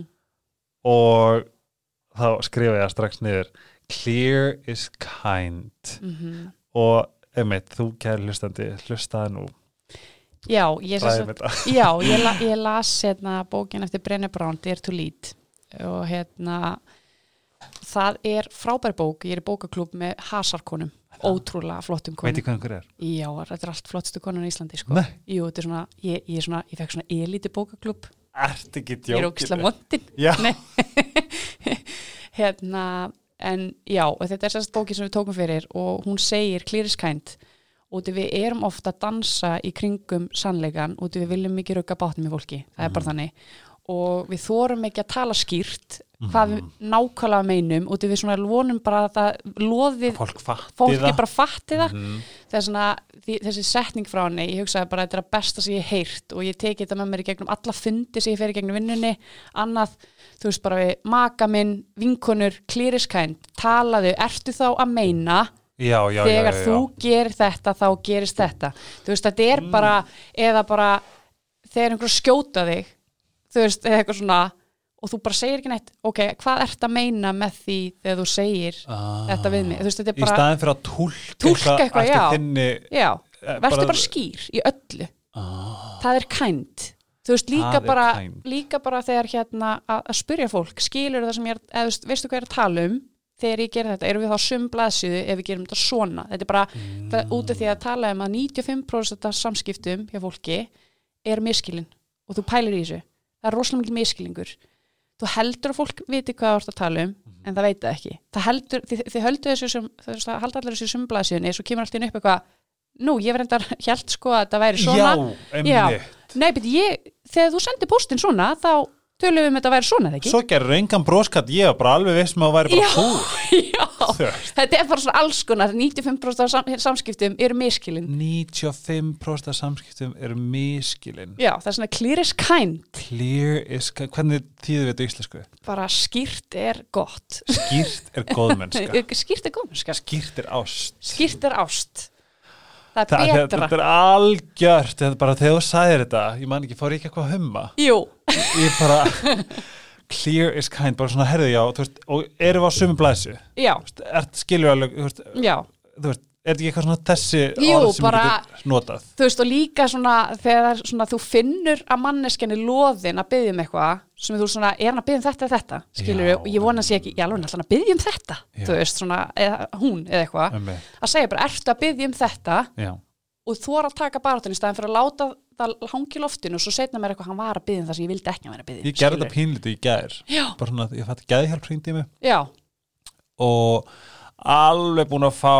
og þá skrifa ég það strax niður clear is kind
Mhm.
og einmitt, þú kæri hlustandi hlustaði nú,
Já, ég, sem
ræði
sagt,
með það
já, ég, la, ég las hérna bókin eftir Brené Brown, Dare to Lead og hérna það er frábær bók, ég er í bókaklúb með hasarkonum, ótrúlega flottum
veit
konum.
ég hvað einhver er?
Já, þetta er allt flottstu konun í Íslandi sko.
Nei,
Jú, þetta er svona, ég, ég, er svona, ég fekk svona elíti bókaklúb,
ert ekki
ég er ógisla
djókinu
mondin
Já,
Nei. hérna, en já, og þetta er sérst bókin sem við tókum fyrir og hún segir klýriskænt út í við erum ofta að dansa í kringum sannleikan út í við viljum ekki rauka bátnum í fólki, það er bara þannig og við þórum ekki að tala skýrt hvað við nákvæmlega meinum út í við svona vonum bara að það loðið
fólk fatti
fólki
það
bara fatti það
Mhm.
þess að þessi setning frá henni ég hugsaði bara að þetta er að besta sem ég hef heyrt og ég teki þetta með mér í gegnum alla fundi sem ég fer í gegnum vinnunni, annað þú veist bara við maka minn, vinkonur klýriskænd, talaðu, ertu þá að meina
já, já, já,
þegar
já, já.
þú gerir þetta þá gerist þetta þú veist þetta er bara eða bara þegar einhver skjóta þig þú veist eða eitthvað svona og þú bara segir ekki neitt, ok, hvað ert að meina með því þegar þú segir
Ah.
þetta við mig, þú veist þetta er
í
bara
staðin fyrir að tólka,
Túlka eitthvað,
eftir
já.
þinni
já,
Eh,
verður
bara-
bara, skýr í öllu
ah,
það er kænt þú veist líka
Það er
bara,
kind.
líka bara þegar hérna að, að spyrja fólk, skilur það sem ég er eða þú veist, veistu hvað ég er að tala um þegar ég gerir þetta, erum við þá sum blaðsíðu ef við gerum þetta svona, þetta er bara
Mm.
það, út af því að tala um að 95% af samskiptum hjá fólki er miskilin og þú pælir í þessu það er rosalega mikil miskilingur þú heldur að fólk viti hvað þú ert að tala um
Mhm.
en það veit það ekki það heldur, þið, þið höldu þessu sem, það haldur allir þessu sumblaðsíðunni svo kemur allt inn upp eitthvað nú, ég verður endar hjælt sko að það væri svona
já, einmitt
Nei, beti, ég, þegar þú sendir póstinn svona þá tölum við um þetta væri svona, eða ekki?
svo gerður engan bróskat ég var bara alveg veist maður væri bara
Já.
fúr
Já, þetta er bara svona alls konar 95% af sam, samskiptum eru miskilin
95% af samskiptum eru miskilin
Já, það er svona clear is kind
clear is, hvernig þýðu þetta í íslensku?
bara skýrt er gott
skýrt er góðmennska
skýrt er góðmennska
skýrt er ást
skýrt er ást það
Þa,
er
þetta,
betra
þetta er algjört þetta er bara þegar þú sagðir þetta ég man ekki, fór ég ekki eitthvað að humma
Jú,
ég bara, clear is kind bara svona, herðu já, þú veist og erum við á sumu blæsu
já,
er, skilur alveg, þú veist,
já
þú veist er þetta ekki eitthvað svona þessi
Jú,
orð sem
bara-
þú getur notað
þú veist og líka svona þegar svona, þú finnur að manneskenni loðin að byggja um eitthvað sem þú svona, er hann að byggja um þetta eða þetta skilur
Já.
og ég vona að sé ekki, ég alveg náttúrulega að byggja um þetta
Já.
þú veist svona, eða, hún eða eitthvað
um
að segja bara, ertu að byggja um þetta
já,
og þú er að taka barátun í staðin fyrir að láta það hangi loftinu og svo setna mér eitthvað hann var að byggja um það sem ég vildi ekki að vera að byggja um
ég gerði
skilurðu.
þetta pínlítið í gær
Já,
bara svona, ég fætti gæðihjálp hringdi í mig
já,
og alveg búin að fá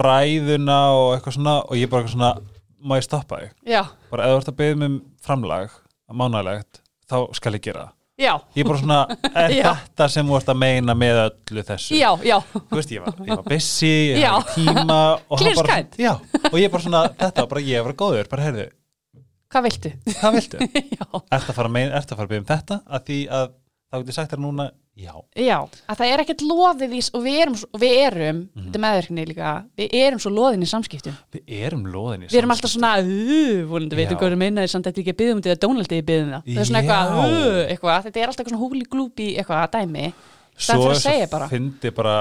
ræðuna og eitthvað svona og ég bara eitthvað svona, má ég stoppa þig
já,
bara ef þú ert að beðið mér um framlag mánalegt, þá skal ég gera það
já,
Ég er bara svona, er
Já.
þetta sem þú ert að meina með öllu þessu?
já, já,
Þú veist, ég var, ég var busy, ég
Já.
hafði ekki tíma og hann
Clear
bara,
skied.
já, og ég er bara svona, þetta var bara, ég var góður, bara heyrðu,
hvað viltu?
hvað viltu?
já,
Ertu að fara að meina, ertu að fara að byggja um þetta? Að því að þá getur sagt þér núna, já,
já, að það er ekkert loðið í, og við erum, svo- og við erum
Mhm.
þetta er meðverkni líka, við erum svo loðin í samskiptum,
við erum loðin í
við erum alltaf svona, uh, vonandi
Já.
veitum hvað við meina þess að þetta er ekki að byggðum þetta, Donald er í byggðum það, það er svona eitthvað,
Já.
uh, eitthvað, þetta er alltaf eitthvað svona húli glúpi eitthvað dæmi, það er fyrir að segja bara,
fyndi bara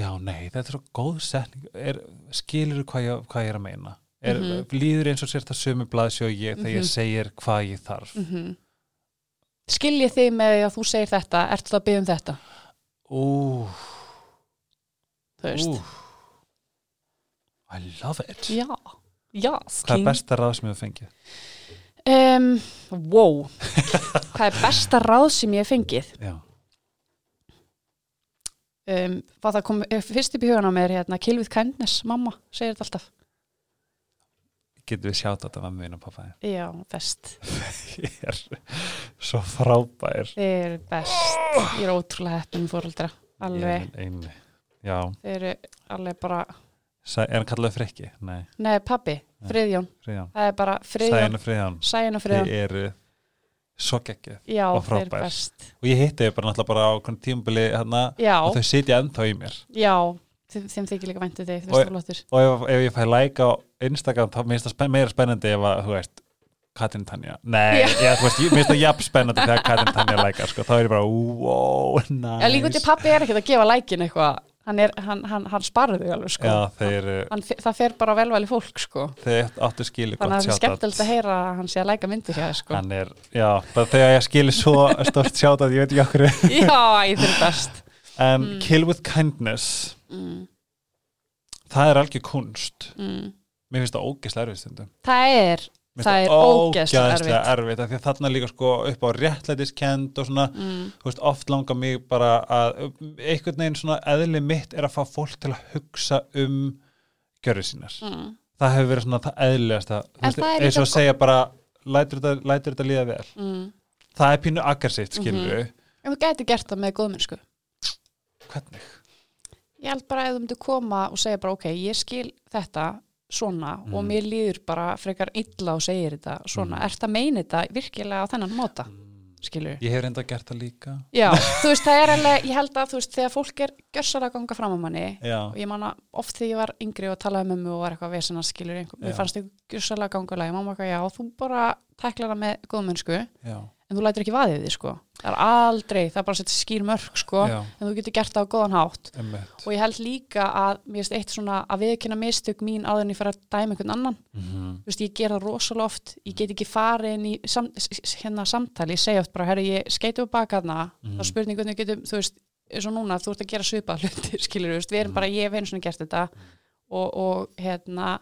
já nei, þetta er svo góð setning er, skilur hvað ég, hvað ég er að meina er,
Mhm.
líður eins og sér það sömu blaðsjó ég þegar ég segir hvað ég þarf
Mhm. skiljið þig með því að þú segir þetta, ertu það að byggðum þetta,
Ú,
þú veist,
ú I love it
já, já,
Hvað er
skin
besta ráð sem við fengið?
Um, wow Hvað er besta ráð sem ég hef fengið?
Já,
Um, var það kom eh, fyrst upp í hugan á mér hérna, Kilvið Kændnes, mamma, segir þetta alltaf
getum við sjátt þetta með minn og pappa þér?
Já, best
Ég er svo frábær
Þeir eru best, ég er ótrúlega heppin fóreldra, alveg
Ég er ein- Já,
Þeir eru alveg bara,
Sæ, er hann kallaði frikki? Nei,
nei pabbi, Friðjón
Friðján
Það er bara Friðjón,
Sæðinu Friðján
Sæjan og
Þið
Friðjón
eru svo geggjuð
Já,
og
þeir eru
frábær.
best
og ég hitti þau bara náttúrulega bara á hvernig tímabili hana,
Já,
og þau sitja ennþá í mér
já, þeim, þeim þykir líka væntu þig, þú
Og-
veist það flottur
og ef, ef ég fæ like á Instagram þá minnst það spen, meira spennandi ef að, þú veist, Katrin Tanja nei,
Já.
ég, þú veist, ég minnst það jafn spennandi þegar Katrin Tanja like sko, þá er ég bara, wow, nice
Já, líka út í pabbi er ekkert að gefa lækin eitthvað Hann, er, hann, hann, hann sparði þau alveg sko
já, þeir,
hann, fe- það fer bara velvæli fólk sko
þeir áttu skilu
þannig að
gott
það er skemmtilegt
sjátt
að heyra að hann sé að læka myndir hjá þér sko
hann er, já, það, þegar ég skili svo stort sjátt ég veit ekki okkur en
já, ég þurr best
kill with kindness
mm,
það er algjör kunst
mm.
mér finnst það ógislega erfið stundum
það er
Mér
Það
finnst
er ógeðslega
ógeðslega erfitt af því að þarna líka sko upp á réttlætiskend og svona,
mm,
þú veist, oft langar mig bara að einhvern veginn svona eðli mitt er að fá fólk til að hugsa um gjörðu sínar.
mm.
Það hefur verið svona það eðlilegasta, þú
En
veist,
það
eins og
er
að
líka sko-
segja bara lætur þetta, lætur þetta líða vel.
Mm.
Það er pínu aggressivt,
Mhm.
skilur við.
en þú gæti gert það með sko. góðmennsku
Hvernig?
ég held bara að þú myndir koma og segja bara ok, ég skil þetta svona
Mm.
og mér líður bara frekar illa og segir þetta svona, mm. ert að meina þetta virkilega á þennan móta skilur
Mm. Ég hefur enda gert það líka.
Já, þú veist, það er alveg, ég held að þú veist, þegar fólk er gjörsar að ganga fram á manni
Já.
og ég manna oft þegar ég var yngri og talaði með mig og var eitthvað vesina skilur einhver, mér
Já.
fannst þig gjössalega gangulega, mamma eitthvað já, þú bara tæklar það með góðmennsku en
Já.
þú lætir ekki vaðið því sko, það er aldrei það er bara að setja skýr mörg sko
Já.
en þú getur gert það á góðan hátt
Emmett.
og ég held líka að, mér veist, eitt svona að viðkynna mistök mín áður en ég fer að dæma einhvern annan
Mhm.
þú veist, ég gera það rosalega oft ég get ekki farið inn í sam, s- s- hérna samtali, ég segja oft bara, herri, ég skeiti upp baka þarna,
Mhm.
þá spurning hvernig við getum, þú veist, eins og núna, þú ert að gera svipa hluti, skilur, þú veist, við erum bara, ég hef einu svona gert þetta og, og hérna,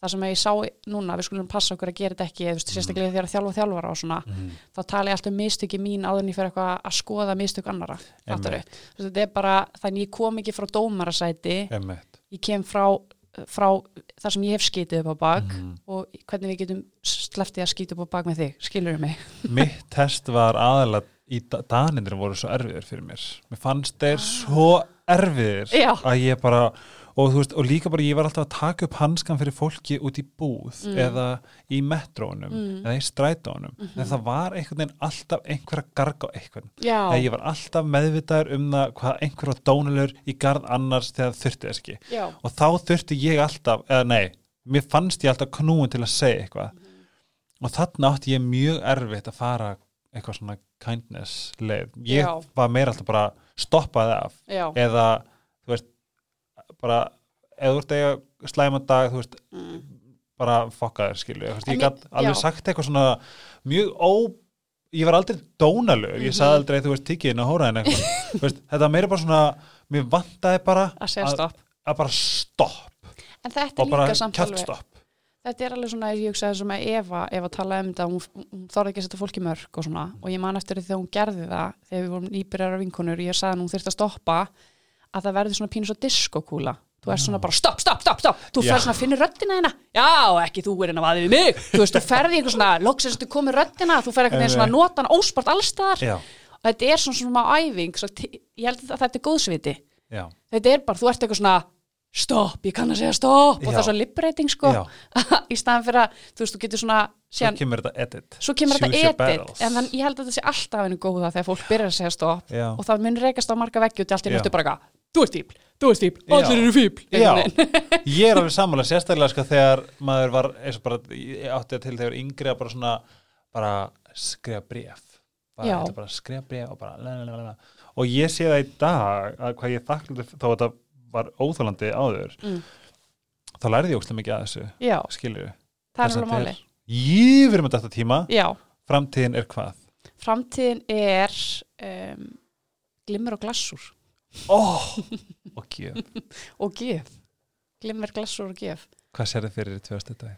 það sem ég sá núna, við skulum passa okkur að gera þetta ekki, þú veist, sérstaklega þegar að þjálfa og þjálfara og svona,
Mhm.
þá tala ég alltaf um mistöki mín áður en ég fyrir eitthvað að skoða mistök annara, fattarðu? Þú veist, þetta er bara, þannig ég kom ekki frá dómarasæti,
Emmett.
ég kem frá, frá þar sem ég hef skítið upp á bak
Mhm.
og hvernig við getum sleftið að skýta upp á bak með þig, skilur mig
mitt test var aðalega í da- Danirnir voru svo erfiðir fyrir mér mér fannst þeir svo erfiðir
Já.
að ég bara og, þú veist, og líka bara ég var alltaf að taka upp hanskan fyrir fólki út í búð eða í metrónum eða í strætónum mm en það var einhvern veginn alltaf einhver að garga á einhvern
Já,
Þegar ég var alltaf meðvitaður um það hvað einhver var dónulegur í garð annars þegar þurfti þess ekki
já,
og þá þurfti ég alltaf, eða nei mér fannst ég alltaf knúin til að segja eitthvað
Mhm.
og þarna átti ég mjög erfitt að fara eitthvað svona kindness leið, ég
Já.
var meira alltaf bara stoppaði af
já,
eða, þú veist bara, eða þú ert að eiga slæma dag, þú veist
Mm.
bara fokkaður skilju, þú veist,
En
ég
mér-
gat alveg
já.
sagt eitthvað svona mjög ó ég var aldrei dónalög, ég
Mhm.
sagði aldrei þú veist tíkiðin að hóraðin eitthvað, þú veist þetta var meira bara svona, mér vantaði bara
að segja stopp
að bara stopp
En þetta
og
er
bara
líka samt
kjátt
alveg
stopp
Þetta er alveg svona, ég hugsaði sem að Eva, Eva talaði um þetta, hún, hún þorði ekki að setja fólki mörg og svona, og ég man eftir því þegar hún gerði það, þegar við vorum nýbyrjar af vinkonur, ég sagði að hún þyrfti að stoppa, að það verði svona pínu svo diskokúla þú er svona bara stopp, stopp, stopp, stopp þú
Já.
fer svona að finna röddina hérna já, ekki þú er hérna vaðið við mig þú veist, þú ferði einhver svona, loksins þú komið röddina þú fer einhvern veginn svona að nota hann óspart allstaðar
Já,
og þetta er svona svona æfing svo ti- ég held að þetta er góðsviti
já,
þetta er bara, þú ert eitthvað svona stopp, ég kann að segja stopp og
Já.
það er svo liberating sko
Já.
í staðan fyrir að, þú veist, þú getur svona
svo
síðan,
kemur þetta edit
svo kemur
Choose
þetta
your
edit
battles.
en þann, ég held að þetta sé alltaf henni góða þegar fólk byrjar að segja stopp
Já.
og það mun reykast á marga veggju til allt í
Já.
náttúrulega bara eitthvað, þú ert fíbl, þú ert fíbl,
Já.
allir eru fíbl
Já,
einhvern veginn.
ég er alveg sammála sérstaklega sko þegar maður var eins og bara, ég átti það til þegar yngri að bara svona, bara skrifa bréf bara,
Já.
þetta bara skrifa bréf og bara la, la, la, la, la. og ég sé það í dag að hvað ég þakklandi þó að þetta var óþólandi áður
Mm.
þá lærði ég óslega mikið að þessu
Já,
skilur
það er alveg máli
ég verið með þetta tíma,
Já,
framtíðin er hvað
framtíðin er um, glimmer og glassur
oh, og gjöf
og gef glimmer, glassur og gef
hvað sér þið fyrir 2000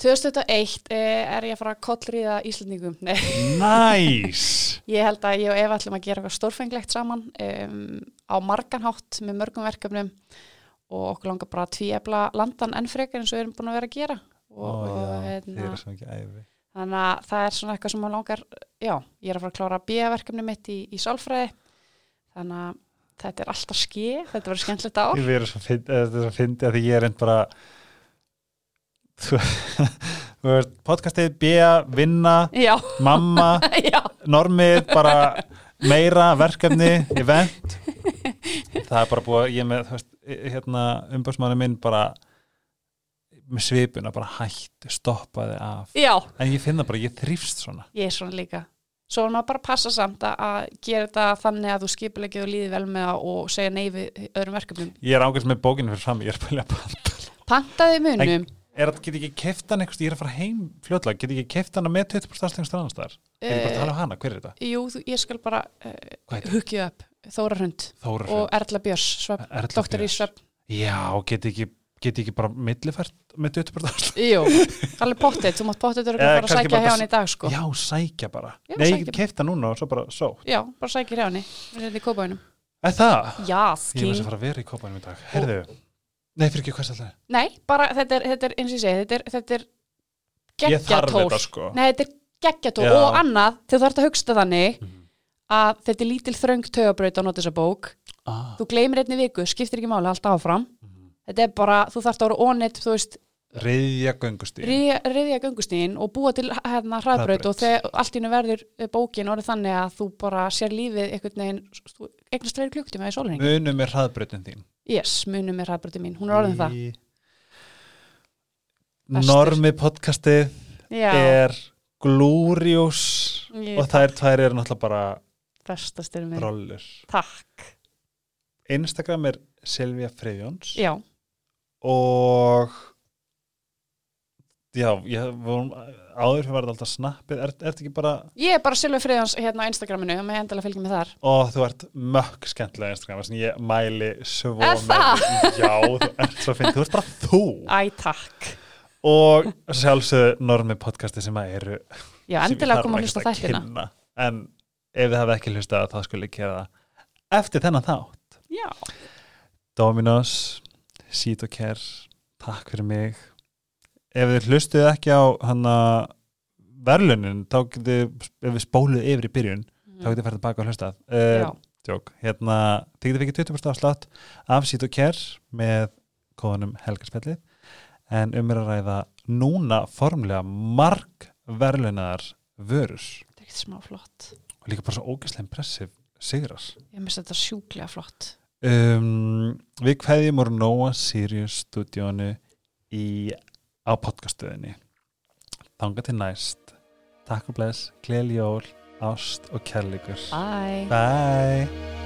2001 eh, er ég að fara að kollriða Íslandingum, nei
nice
Ég held að ég og Eva ætlum að gera eitthvað stórfenglegt saman um, á margan hátt með mörgum verkefnum og okkur langar bara að tvíefla landan enn frekar eins og við erum búin að vera að gera og,
og,
og
já, þið
hérna,
eru svo mikið æfi
þannig að það er svona eitthvað sem maður langar já, ég er að fara að klára B-verkefni mitt í, í sálfræði þannig að þetta er alltaf ski þetta verður skemmtilegt ár
Ég verið svo fyndi, þetta er svo fyndi að því ég er einn bara þú þú veist, podcastið, bea, vinna
Já,
mamma,
já,
normið bara meira, verkefni event það er bara búið, að- ég er með þú veist, hérna, umbásmanni minn bara með svipuna, bara hættu stoppaði af,
já
en ég finna bara ég þrýfst svona,
ég er svona líka svo er maður bara að passa samt að, að gera þetta þannig að þú skipulegið og líði vel með það og segja nei við öðrum verkefnum
ég er ágæst með bókinu fyrir fram, ég er bara að panta
pantaði munum
er að, get ekki keft hann einhvers, ég er að fara heim fljótlega, get ekki keft hann með 20% afslengs annars staðar, er ég bara að tala um hana, hver er þetta?
eh, jú, þú, ég skal bara uh,
Hvað heitir?
hugja upp Þóra Hrund
Þóra
og
Hrund,
Erla Björs svefn,
Erla
doktor í
Björns.
svefn
Já, geti ekki, geti ekki bara millifært með 20% afslætt.
jú, alveg pottið, þú mátt pottið
Eða
að fara að
kannski
sækja
bara
hjá
bara-
henni í dag sko. já.
Já, sækja bara.
Já,
Nei,
sækja
ég kefta núna og svo bara svo.
bara sækja hjá henni við erum þetta í kópaunum
Er það?
já,
Ég verðs
skýn,
að fara að vera í kópanum í dag. Herðu, nei, fyrir ekki hvað sætla það?
nei, bara þetta er, þetta er eins og ég segi, þetta er, þetta er
Ég þarf
geggjatól
þetta sko.
nei, þetta er geggjatól
Já.
og annað, þegar þú ert að hugsta þannig
Mhm.
að þetta er lítil þröng taugabraut á notisa bók
Ah.
þú gleymir einni viku, skiptir ekki máli alltaf áfram
Mhm.
þetta er bara, þú þarft að vera onnit þú veist,
Riðja göngustíð.
Ri- riðja göngustíðin og búa til hérna hraðbraut
Hraðbraut.
og þegar allt í hennu verður eh, bókin orðið þannig að þú bara sér lífið einhvern veginn, þú eignast fleiri klukktíma í sólinni.
Munu með hraðbrautin þín.
Yes, munum með hraðbrautin mín, hún er orðin það.
Í-
Bestur.
Normi podcastið
Já,
er glúriós
Ég-
og þær tvær eru náttúrulega bara
bestast er mér.
rollur.
Takk.
Instagram er Silvia Friðjóns.
Já,
og já, ég vorum áður fyrir var þetta alltaf snappið, er, ert ekki bara
ég er bara Silvi Friðans hérna á Instagraminu, maður endilega fylgjum með þar.
og þú ert mökk skemmtilega á Instagram, þannig ég mæli svo
Er það?
með- já, þú ert svo finn, þú ert bara þú
Æ, takk.
og sjálfsög normi podcasti sem að eru sem
Já,
ég
endilega
þarf
koma að
ekkert
hlusta á þættina.
kynna. en ef þið hafa ekki hlustað þá skulle ég gera það eftir þennan þátt
Já,
Dominos, Seat og Care takk fyrir mig ef þið hlustuð ekki á hana verlunin, þá getið ef við spóluð yfir í byrjun þá
Mm,
getið fært tilbaka og hlustað
já,
uh, tjók, hérna, þið getið fengið 20% afslátt af Seat og Care með kóðanum Helgarspellið en um er að ræða núna formlega mark verlunar vörur
þetta er ekkert smá flott.
og líka bara svo ógæslega impressiv sigrar
Ég minnst þetta sjúklega flott.
um, Við kveðjum úr Nóa Sirius stúdíónu í, á podcaststöðinni Þanga til næst Takk og bless, gleðli jól, ást og kærleikur
Bye.
Bye